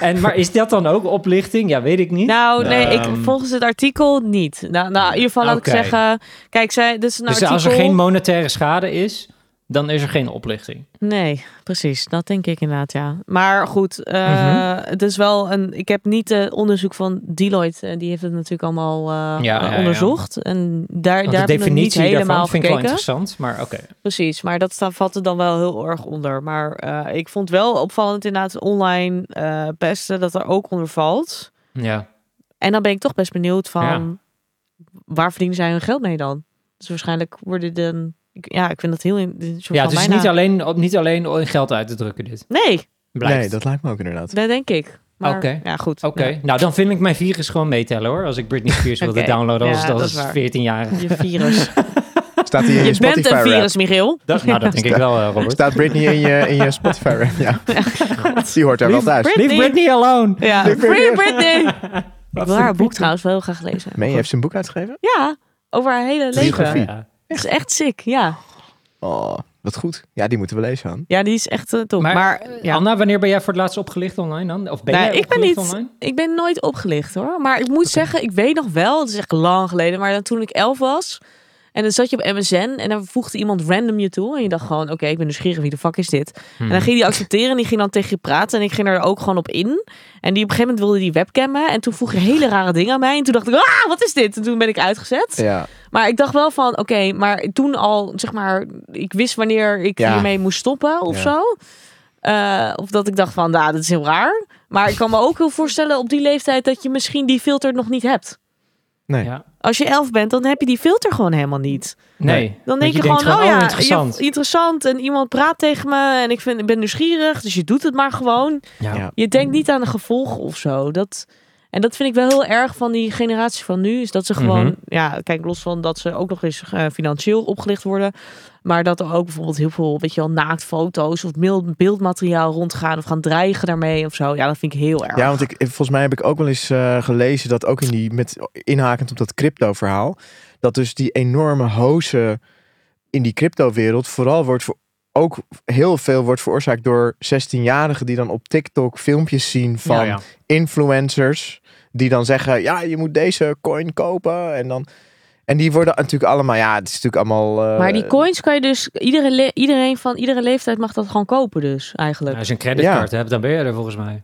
S1: En, maar is dat dan ook oplichting? Ja, weet ik niet.
S2: Nou, nee, ik,
S1: Ehm.
S2: volgens het artikel niet. Nou, nou in ieder geval laat
S1: Oké.
S2: ik zeggen... Kijk, zij, dit is een
S1: dus
S2: Nou, artikel...
S1: als er geen monetaire schade is, dan is er geen oplichting.
S2: Nee, precies. Dat denk ik inderdaad, ja. Maar goed, eh,
S1: Mhm.
S2: het is wel een... Ik heb niet eh, onderzoek van Deloitte. eh, Die heeft het natuurlijk allemaal eh,
S1: Ja,
S2: eh,
S1: ja, ja.
S2: onderzocht. En daar,
S1: Want
S2: daar
S1: de
S2: heb ik nog niet
S1: definitie
S2: helemaal
S1: daarvan vind ik wel
S2: gekeken.
S1: interessant, maar oké.
S2: Precies, maar dat sta- valt er dan wel heel erg onder. Maar eh, ik vond wel opvallend inderdaad online eh pesten dat er ook onder valt.
S1: Ja.
S2: En dan ben ik toch best benieuwd van...
S1: Ja.
S2: Waar verdienen zij hun geld mee dan? Dus waarschijnlijk worden de... ik- Ja, ik vind dat heel... in- een soort
S1: ja,
S2: van
S1: het is
S2: bijna-
S1: niet alleen, op, niet alleen in geld uit te drukken dit.
S2: Nee,
S1: Blijkt.
S3: nee, dat lijkt me ook inderdaad.
S2: Dat denk ik. Maar
S1: Oké.
S2: ja, goed.
S1: Oké, nou dan vind ik mijn virus gewoon meetellen hoor. Als ik Britney Spears wilde
S2: Oké,
S1: downloaden als,
S2: ja, dat
S1: als
S2: is waar.
S1: 14-jarige.
S2: Je virus.
S3: Staat hij in je,
S2: je
S3: Spotify
S2: bent een
S3: rap?
S2: virus, Michiel.
S1: Dat, nou, dat denk ik wel, eh, Robert.
S3: Staat Britney in je, in je Spotify rap? Ja. Die hoort daar wel
S1: Lief
S3: thuis.
S2: Brit-
S1: Leave
S2: Britney.
S1: Britney alone.
S2: Ja, Free Britney! ik wil haar boek trouwens wel heel graag lezen.
S3: Mee heeft zijn boek uitgegeven?
S2: Ja, over haar hele leven.
S3: Biografie.
S1: Ja.
S2: Het is echt sick, ja.
S3: Oh, wat goed. Ja, die moeten we lezen, man.
S2: Ja, die is echt eh, top.
S1: Maar,
S2: Maar, ja.
S1: Anna, wanneer ben jij voor het laatst opgelicht online dan? Of ben
S2: Nee,
S1: jij
S2: ik ben
S1: opgelicht
S2: niet-
S1: online?
S2: ik ben nooit opgelicht hoor. Maar ik moet zeggen, ik weet nog wel, het is echt lang geleden, maar dan toen ik elf was... En dan zat je op MSN en dan voegde iemand random je toe. En je dacht gewoon, oké, ik ben nieuwsgierig, wie de fuck is dit? En
S1: Hmm.
S2: dan ging die accepteren en die ging dan tegen je praten. En ik ging er ook gewoon op in. En die op een gegeven moment wilde die webcammen. En toen vroeg je hele rare dingen aan mij. En toen dacht ik, ah, wat is dit? En toen ben ik uitgezet.
S3: Ja,
S2: Maar ik dacht wel van, oké, maar toen al, zeg maar, ik wist wanneer ik
S3: Ja.
S2: hiermee moest stoppen of
S3: Ja.
S2: zo. Eh, of dat ik dacht van, nou, dat is heel raar. Maar ik kan me ook heel voorstellen op die leeftijd dat je misschien die filter nog niet hebt.
S3: nee.
S1: Ja.
S2: Als je elf bent, dan heb je die filter gewoon helemaal niet.
S1: Nee.
S2: Dan
S1: Want
S2: denk je,
S1: denkt
S2: gewoon, oh
S1: oh,
S2: ja,
S1: interessant.
S2: je- interessant. En iemand praat tegen me en ik vind, ik ben nieuwsgierig. Dus je doet het maar gewoon.
S1: Ja.
S3: Ja.
S2: Je denkt niet aan de gevolgen of zo. Dat, en dat vind ik wel heel erg van die generatie van nu. Is dat ze gewoon,
S1: Mhm.
S2: ja, kijk, los van dat ze ook nog eens eh, financieel opgelicht worden. Maar dat er ook bijvoorbeeld heel veel, weet je wel, naaktfoto's of mil- beeldmateriaal rondgaan of gaan dreigen daarmee of zo. Ja, dat vind ik heel erg.
S3: Ja, want ik, volgens mij heb ik ook wel eens eh, gelezen dat ook in die, met, inhakend op dat crypto-verhaal, dat dus die enorme hozen in die crypto-wereld vooral wordt voor, ook heel veel wordt veroorzaakt door 16-jarigen die dan op TikTok filmpjes zien van
S1: Ja, ja.
S3: influencers die dan zeggen, ja, je moet deze coin kopen en dan... En die worden natuurlijk allemaal, ja, het is natuurlijk allemaal... eh,
S2: maar die coins kan je dus, iedere le- iedereen van iedere leeftijd mag dat gewoon kopen dus
S1: Nou,
S2: eigenlijk.
S1: als je een creditcard hebt, dan ben je er volgens mij.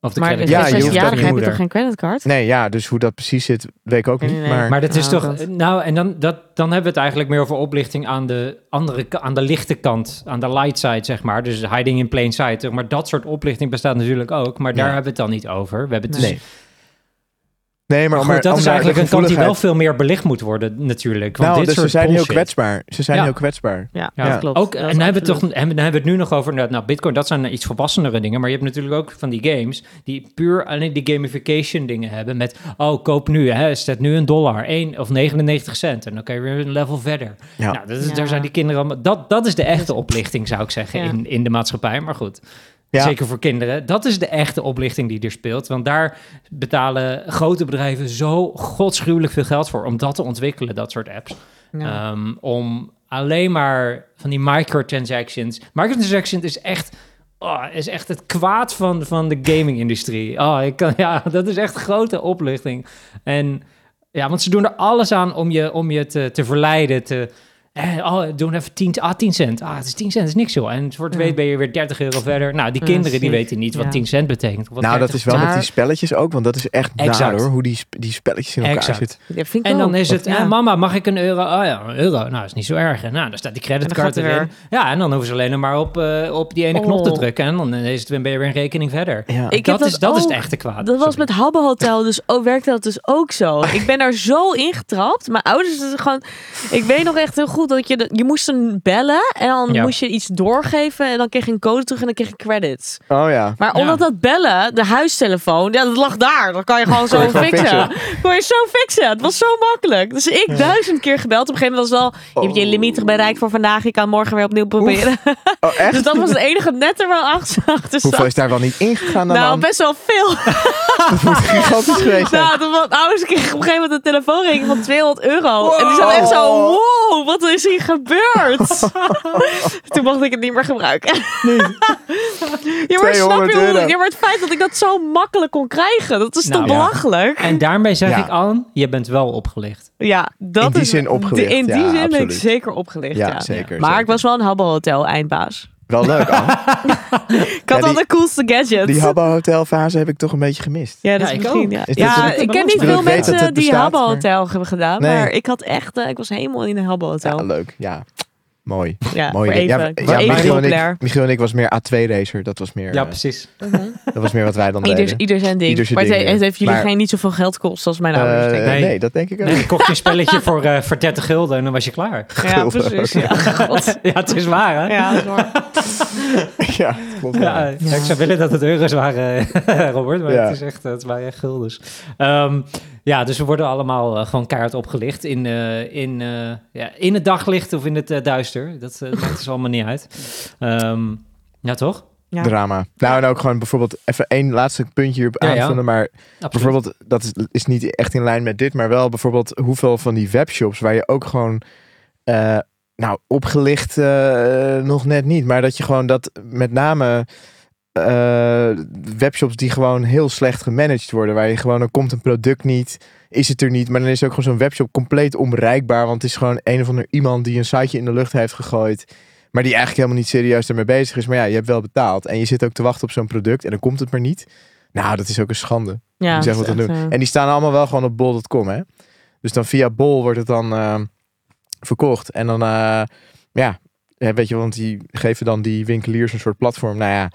S1: Of de
S2: Maar dus
S1: creditcard.
S3: Ja, je hoeft dat
S2: 60-jarigen
S3: niet
S2: hebben
S3: moeder.
S2: toch geen creditcard?
S3: Nee, ja, dus hoe dat precies zit, weet ik ook
S2: Nee,
S3: niet.
S2: nee, nee.
S3: Maar,
S1: Maar dat is
S2: Nou,
S1: toch.
S2: dat-
S1: Nou, en dan, dat, dan hebben we het eigenlijk meer over oplichting aan de andere ka- aan de lichte kant, aan de light side, zeg maar. Dus hiding in plain sight. zeg Maar dat soort oplichting bestaat natuurlijk ook. Maar daar
S3: Ja.
S1: hebben we het dan niet over. We hebben het dus,
S3: nee. Nee, maar,
S1: Maar goed,
S3: maar
S1: dat
S3: om
S1: is
S3: daar
S1: eigenlijk
S3: de
S1: een kant die wel
S3: gevoeligheid-
S1: veel meer belicht moet worden, natuurlijk. Want dit
S3: Nou, dus ze
S1: soort
S3: zijn heel
S1: bullshit.
S3: kwetsbaar. Ze zijn
S1: Ja.
S3: heel kwetsbaar.
S2: Ja,
S1: Ja.
S2: dat klopt.
S1: Ook,
S2: Dat
S1: en
S2: is
S1: dan hebben, we
S2: absoluut.
S1: toch, en dan hebben we het nu nog over inderdaad, nou, Bitcoin, dat zijn iets volwassenere dingen. Maar je hebt natuurlijk ook van die games die puur alleen die gamification dingen hebben. Met, oh, koop nu, hè, zet nu een dollar, 1 of 99 cent. En dan kan je weer een level verder.
S3: Ja.
S1: Nou, dat is,
S2: Ja.
S1: daar zijn die kinderen allemaal. Dat, dat is de echte oplichting, zou ik zeggen,
S2: Ja.
S1: in, in de maatschappij. Maar goed.
S3: Ja.
S1: Zeker voor kinderen. Dat is de echte oplichting die er speelt. Want daar betalen grote bedrijven zo godschuwelijk veel geld voor om dat te ontwikkelen, dat soort apps.
S2: Ja.
S1: Ehm, om alleen maar van die microtransactions. Microtransactions is echt, oh, is echt het kwaad van, van de gaming-industrie. Oh, ik kan, ja, dat is echt grote oplichting. En ja, want ze doen er alles aan om je, om je te, te verleiden, te Eh, oh, doen even 10, ah, 10 cent. Ah, het is 10 cent, het is niks joh. En voor het
S2: Ja.
S1: weet ben je weer 30 euro verder. Nou, die
S2: Ja,
S1: kinderen die
S2: ziek.
S1: weten niet wat
S2: Ja.
S1: 10 cent betekent. of Wat
S3: nou, dat
S1: 30
S3: is wel met die
S2: Maar-
S3: spelletjes ook, want dat is echt
S1: Exact.
S3: daar hoor, hoe die, sp- die spelletjes in elkaar
S1: Exact.
S3: zitten.
S2: Ja, vind
S1: En
S2: ik ook.
S1: dan is het,
S2: Ja.
S1: eh, mama, mag ik een euro? Oh ja, een euro. Nou, is niet zo erg. En nou, dan staat die
S2: En dan gaat
S1: creditcard
S2: hij
S1: erin.
S2: weer.
S1: Ja, en dan hoeven ze alleen maar op, eh, op die ene knop te
S2: Oh.
S1: drukken. En dan is het, ben je weer een rekening verder.
S3: Ja.
S2: Ik
S1: dat
S2: heb
S1: is, dat is het
S2: ook-
S1: echte kwaad.
S3: Ah,
S2: Dat was
S1: Sorry.
S2: met Habbe Hotel, dus ook, werkte dat dus ook zo. Ik ben daar zo ingetrapt. Mijn ouders, het is gewoon, ik weet nog echt heel goed dat je, de- je moest een bellen en dan
S1: Ja.
S2: moest je iets doorgeven en dan kreeg je een code terug en dan kreeg je credits.
S3: Oh ja.
S2: Maar
S1: Ja.
S2: omdat dat bellen, de huistelefoon, ja, dat lag daar. Dat kan je gewoon zo
S3: je gewoon
S2: fixen.
S3: fixen.
S2: Kon je zo fixen. Het was zo makkelijk. Dus ik duizend keer gebeld. Op een gegeven moment was het wel, je hebt je
S3: Oh.
S2: limiet bereikt voor vandaag. Je kan morgen weer opnieuw proberen.
S3: Oh echt?
S2: Dus dat was het enige net er wel achter achter zat.
S3: Hoeveel is daar wel niet ingegaan dan?
S2: Nou,
S3: man?
S2: best wel veel.
S3: Dat moet gigantisch geweest zijn.
S2: Nou, toen mijn ouders kregen op een gegeven moment een telefoonrekening van 200 euro. En die zaten echt zo,
S3: Wow.
S2: wow, wat is hier gebeurd? toen mocht ik het niet meer gebruiken. ja, maar snap
S3: 200
S2: je hoe,
S3: euro.
S2: ja, maar het feit dat ik dat zo makkelijk kon krijgen, dat is
S1: Nou,
S2: toch
S1: ja.
S2: belachelijk?
S1: En daarmee zeg
S3: Ja.
S1: ik aan, je bent wel opgelicht.
S2: Ja, dat
S3: In die
S2: is,
S3: zin opgelicht,
S2: In die
S3: ja,
S2: zin ben ik
S3: absoluut.
S2: zeker opgelicht, ja.
S3: Ja, zeker.
S2: Maar
S3: zeker.
S2: ik was wel een Habbo Hotel eindbaas.
S3: Wel leuk, Anne.
S2: Ik had
S3: Ja,
S2: wel
S3: die-
S2: de coolste gadgets.
S3: Die Habbo Hotelfase heb ik toch een beetje gemist.
S2: Ja, dat
S1: Ja,
S2: is
S1: ik
S2: misschien.
S1: ook.
S2: Ja,
S3: Is dit
S2: Ja,
S3: een-
S2: ik ken
S1: Ik
S2: niet veel
S1: weet dat
S2: mensen
S3: het
S2: die
S3: bestaat,
S2: Habbo
S3: maar-
S2: Hotel hebben gedaan,
S3: Nee.
S2: maar ik had echt, eh, ik was helemaal in een Habbo Hotel.
S3: Ja, leuk. Ja. Mooi.
S2: Ja,
S3: Mooi.
S2: voor
S3: idee.
S2: even.
S3: Ja,
S2: Ik was
S3: ja,
S2: even
S3: Michiel, en
S2: populair.
S3: ik, Michiel en ik was meer A2-racer. Dat, was meer,
S1: Ja,
S3: eh,
S1: precies.
S3: dat was meer wat wij dan
S2: Ieder,
S3: deden.
S2: ieder zijn ding.
S3: Ieder zijn
S2: maar het,
S3: ding,
S2: he- het
S3: ja.
S2: heeft jullie
S3: Maar-
S2: geen niet zoveel geld gekost als mijn
S3: Eh,
S2: ouders. nou denk ik.
S1: ik.
S3: nee.
S1: Nee.
S3: dat denk ik ook.
S1: Nee, ik kocht je een spelletje voor, eh, voor 30 gulden en dan was je klaar.
S2: ja,
S3: gulden.
S2: precies. Ja, God.
S1: ja, het is waar, hè?
S2: ja dat is waar.
S3: Ja, dat klopt.
S1: Ja,
S3: Ja.
S1: eh, Ik zou willen dat het euro's waren, eh, Robert, maar
S3: Ja.
S1: het, is echt, het waren echt guldens. Ehm, ja, dus we worden allemaal eh, gewoon keihard opgelicht in, eh, in, eh, ja, in het daglicht of in het eh, duister. Dat eh, maakt dus allemaal niet uit. Ehm, ja, toch?
S2: Ja.
S3: Drama. Nou, en ook gewoon bijvoorbeeld even één laatste puntje hierop
S1: Ja, ja.
S3: aanvullen. Maar
S1: Absoluut.
S3: bijvoorbeeld, dat is, is niet echt in lijn met dit, maar wel bijvoorbeeld hoeveel van die webshops waar je ook gewoon, eh, nou, opgelicht eh, nog net niet, maar dat je gewoon dat met name eh, webshops die gewoon heel slecht gemanaged worden, waar je gewoon, dan komt een product niet, is het er niet, maar dan is ook gewoon zo'n webshop compleet onbereikbaar, want het is gewoon een of ander iemand die een siteje in de lucht heeft gegooid. Maar die eigenlijk helemaal niet serieus ermee bezig is. Maar ja, je hebt wel betaald. En je zit ook te wachten op zo'n product. En dan komt het maar niet. Nou, dat is ook een schande.
S2: Ja,
S3: Die zeggen
S2: dat is
S3: wat te doen.
S2: echt, eh,
S3: En die staan allemaal wel gewoon op bol.com, hè? Dus dan via bol wordt het dan ehm, verkocht. En dan, eh, ja, hè, weet je, want die geven dan die winkeliers een soort platform. Nou ja,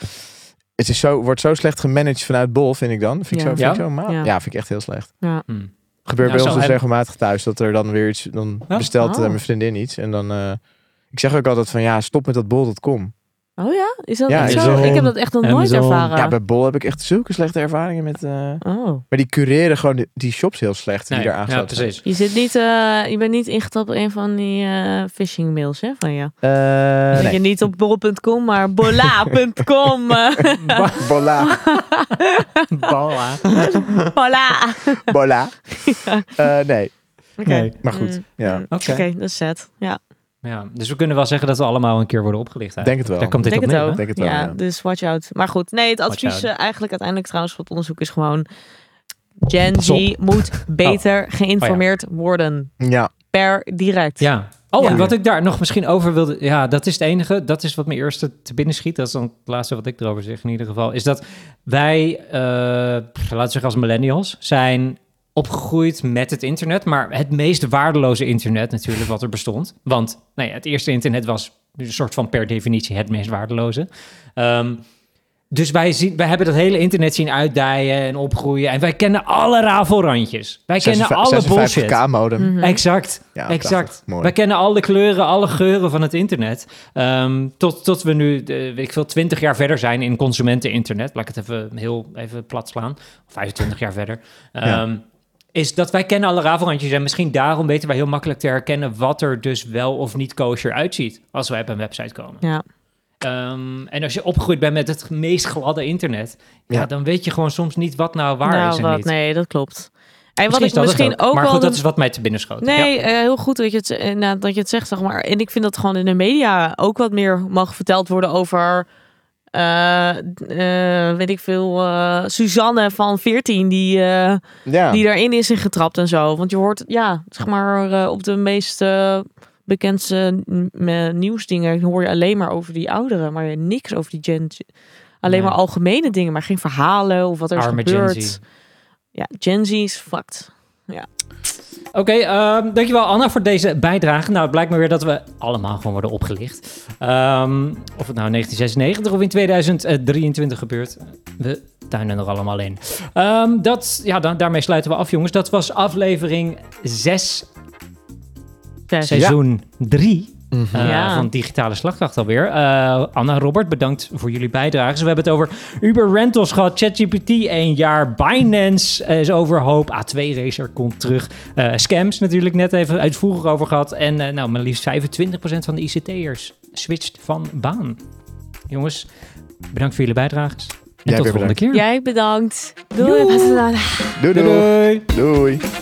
S3: het is zo, wordt zo slecht gemanaged vanuit bol, vind ik dan. Vind ik
S2: Ja.
S3: zo, vind ik
S1: Ja?
S3: zo ma-
S2: Ja.
S3: ja. vind ik echt heel slecht.
S1: Hm.
S3: Gebeurt
S1: Ja,
S3: bij
S1: zo,
S3: ons dus
S1: en-
S3: regelmatig thuis dat er dan weer iets, dan
S1: Ja?
S3: bestelt eh,
S2: Oh.
S3: mijn vriendin iets. En dan, eh, ik zeg ook altijd van, ja, stop met dat bol.com.
S2: Oh ja? Is dat
S3: Ja,
S2: echt
S3: ik
S2: zo?
S3: zag-
S2: Ik heb dat echt nog nooit
S1: Amazon.
S2: ervaren.
S3: Ja, bij bol heb ik echt zulke slechte ervaringen met... eh,
S2: Oh.
S3: maar die cureren gewoon die, die shops heel slecht die
S1: Nee,
S3: daar aangesloten
S1: ja,
S3: zijn.
S1: precies.
S2: Je, zit niet, eh, je bent niet ingetapt op een van die eh phishing mails hè, van je.
S3: Eh,
S2: Dat
S3: nee.
S2: je niet op bol.com, maar bola.com. eh,
S3: Bola.
S1: Balla.
S2: bola.
S3: Bola. Eh, nee,
S2: Oké.
S1: Nee.
S3: maar goed.
S2: Mm.
S3: Ja.
S2: Oké,
S1: Oké.
S2: dat is zet. Ja.
S1: Ja, dus we kunnen wel zeggen dat we allemaal een keer worden opgelicht.
S3: Denk het wel.
S1: Daar komt dit
S2: Ik denk
S1: op
S2: het
S1: neer,
S2: ook.
S1: hè?
S3: Denk het wel,
S2: ja,
S3: ja.
S2: Dus watch out. Maar goed, nee, het
S1: Watch
S2: advies
S1: out.
S2: eh, eigenlijk uiteindelijk trouwens van het onderzoek is gewoon... Gen
S1: Pas
S2: Z moet beter geïnformeerd worden.
S1: Mm.
S3: Ja.
S2: Per direct.
S1: Oh. Ja. Oh, en
S2: Ja.
S1: wat ik daar nog misschien over wilde... Ja, dat is het enige. Dat is wat me eerst te- te binnen schiet. Dat is dan het laatste wat ik erover zeg in ieder geval. Is dat wij, eh, pff, laten we zeggen als millennials... zijn opgegroeid met het internet. Maar het meest waardeloze internet natuurlijk wat er bestond. Want nou ja, het eerste internet was een soort van per definitie het meest waardeloze. Ehm, dus wij, zien, wij hebben dat hele internet zien uitdijen en opgroeien. En wij kennen alle rafelrandjes. Wij kennen alle bullshit. Mhm.
S3: 56k modem.
S2: Mm.
S1: Exact,
S3: Ja,
S1: exact.
S3: prachtig. Mooi.
S1: Wij kennen alle kleuren, alle geuren van het internet. Ehm, tot, tot we nu, eh, weet ik veel, 20 jaar verder zijn in consumenteninternet. Laat ik het even heel even plat slaan. 25 jaar verder.
S3: Ja.
S1: Ehm, Is dat wij kennen alle rafelrandjes en misschien daarom weten wij heel makkelijk te herkennen wat er dus wel of niet kosher uitziet als wij op een website komen.
S2: Ja.
S1: Ehm, en als je opgegroeid bent met het meest gladde internet, ja,
S3: Ja.
S1: dan weet je gewoon soms niet wat nou waar
S2: Nou,
S1: is en
S2: wat,
S1: niet.
S2: Nee, dat klopt. En wat
S1: Misschien is
S2: ik
S1: dat het
S2: misschien ook,
S1: maar
S2: wel...
S1: goed, dat
S2: de-
S1: is wat mij te binnen schoot.
S2: Nee, eh, heel goed dat je, het, eh, nou, dat je het zegt, zeg maar. En ik vind dat gewoon in de media ook wat meer mag verteld worden over... eh, eh, weet ik veel, eh, Suzanne van 14 die... eh,
S3: Ja.
S2: die daarin is ingetrapt en zo. Want je hoort, ja, zeg maar, eh, op de meest eh, bekendste mm, eh, nieuwsdingen hoor je alleen maar over die ouderen, maar niks over die Gen Z. Alleen
S1: Nee.
S2: maar algemene dingen, maar geen verhalen of wat er is
S1: Arme Gen
S2: gebeurd.
S1: Z.
S2: Ja, Gen Z is fucked.
S1: Oké, ehm, dankjewel Anna voor deze bijdrage. Nou, het blijkt me weer dat we allemaal gewoon worden opgelicht. Ehm, of het nou in 1996 of in 2023 gebeurt. We tuinen er allemaal in. Ehm, dat, ja, dan, daarmee sluiten we af, jongens. Dat was aflevering 6,
S2: Zes.
S1: seizoen 3
S3: Mhm.
S1: eh,
S2: Ja.
S1: van Digitale Slagkracht alweer. Eh, Anna, Robert, bedankt voor jullie bijdrages. We hebben het over Uber Rentals gehad, ChatGPT één jaar, Binance eh, is overhoop, A2 Racer komt terug, Eh, scams natuurlijk net even uitvoerig over gehad en eh, nou, maar liefst 25% van de ICT'ers switcht van baan. Jongens, bedankt voor jullie bijdrages. En
S3: Jij
S1: tot de
S3: weer
S1: volgende keer.
S2: Jij bedankt. Doei.
S1: Joe.
S2: Pasadena.
S3: Doei doei.
S1: doei. doei.
S3: Doei.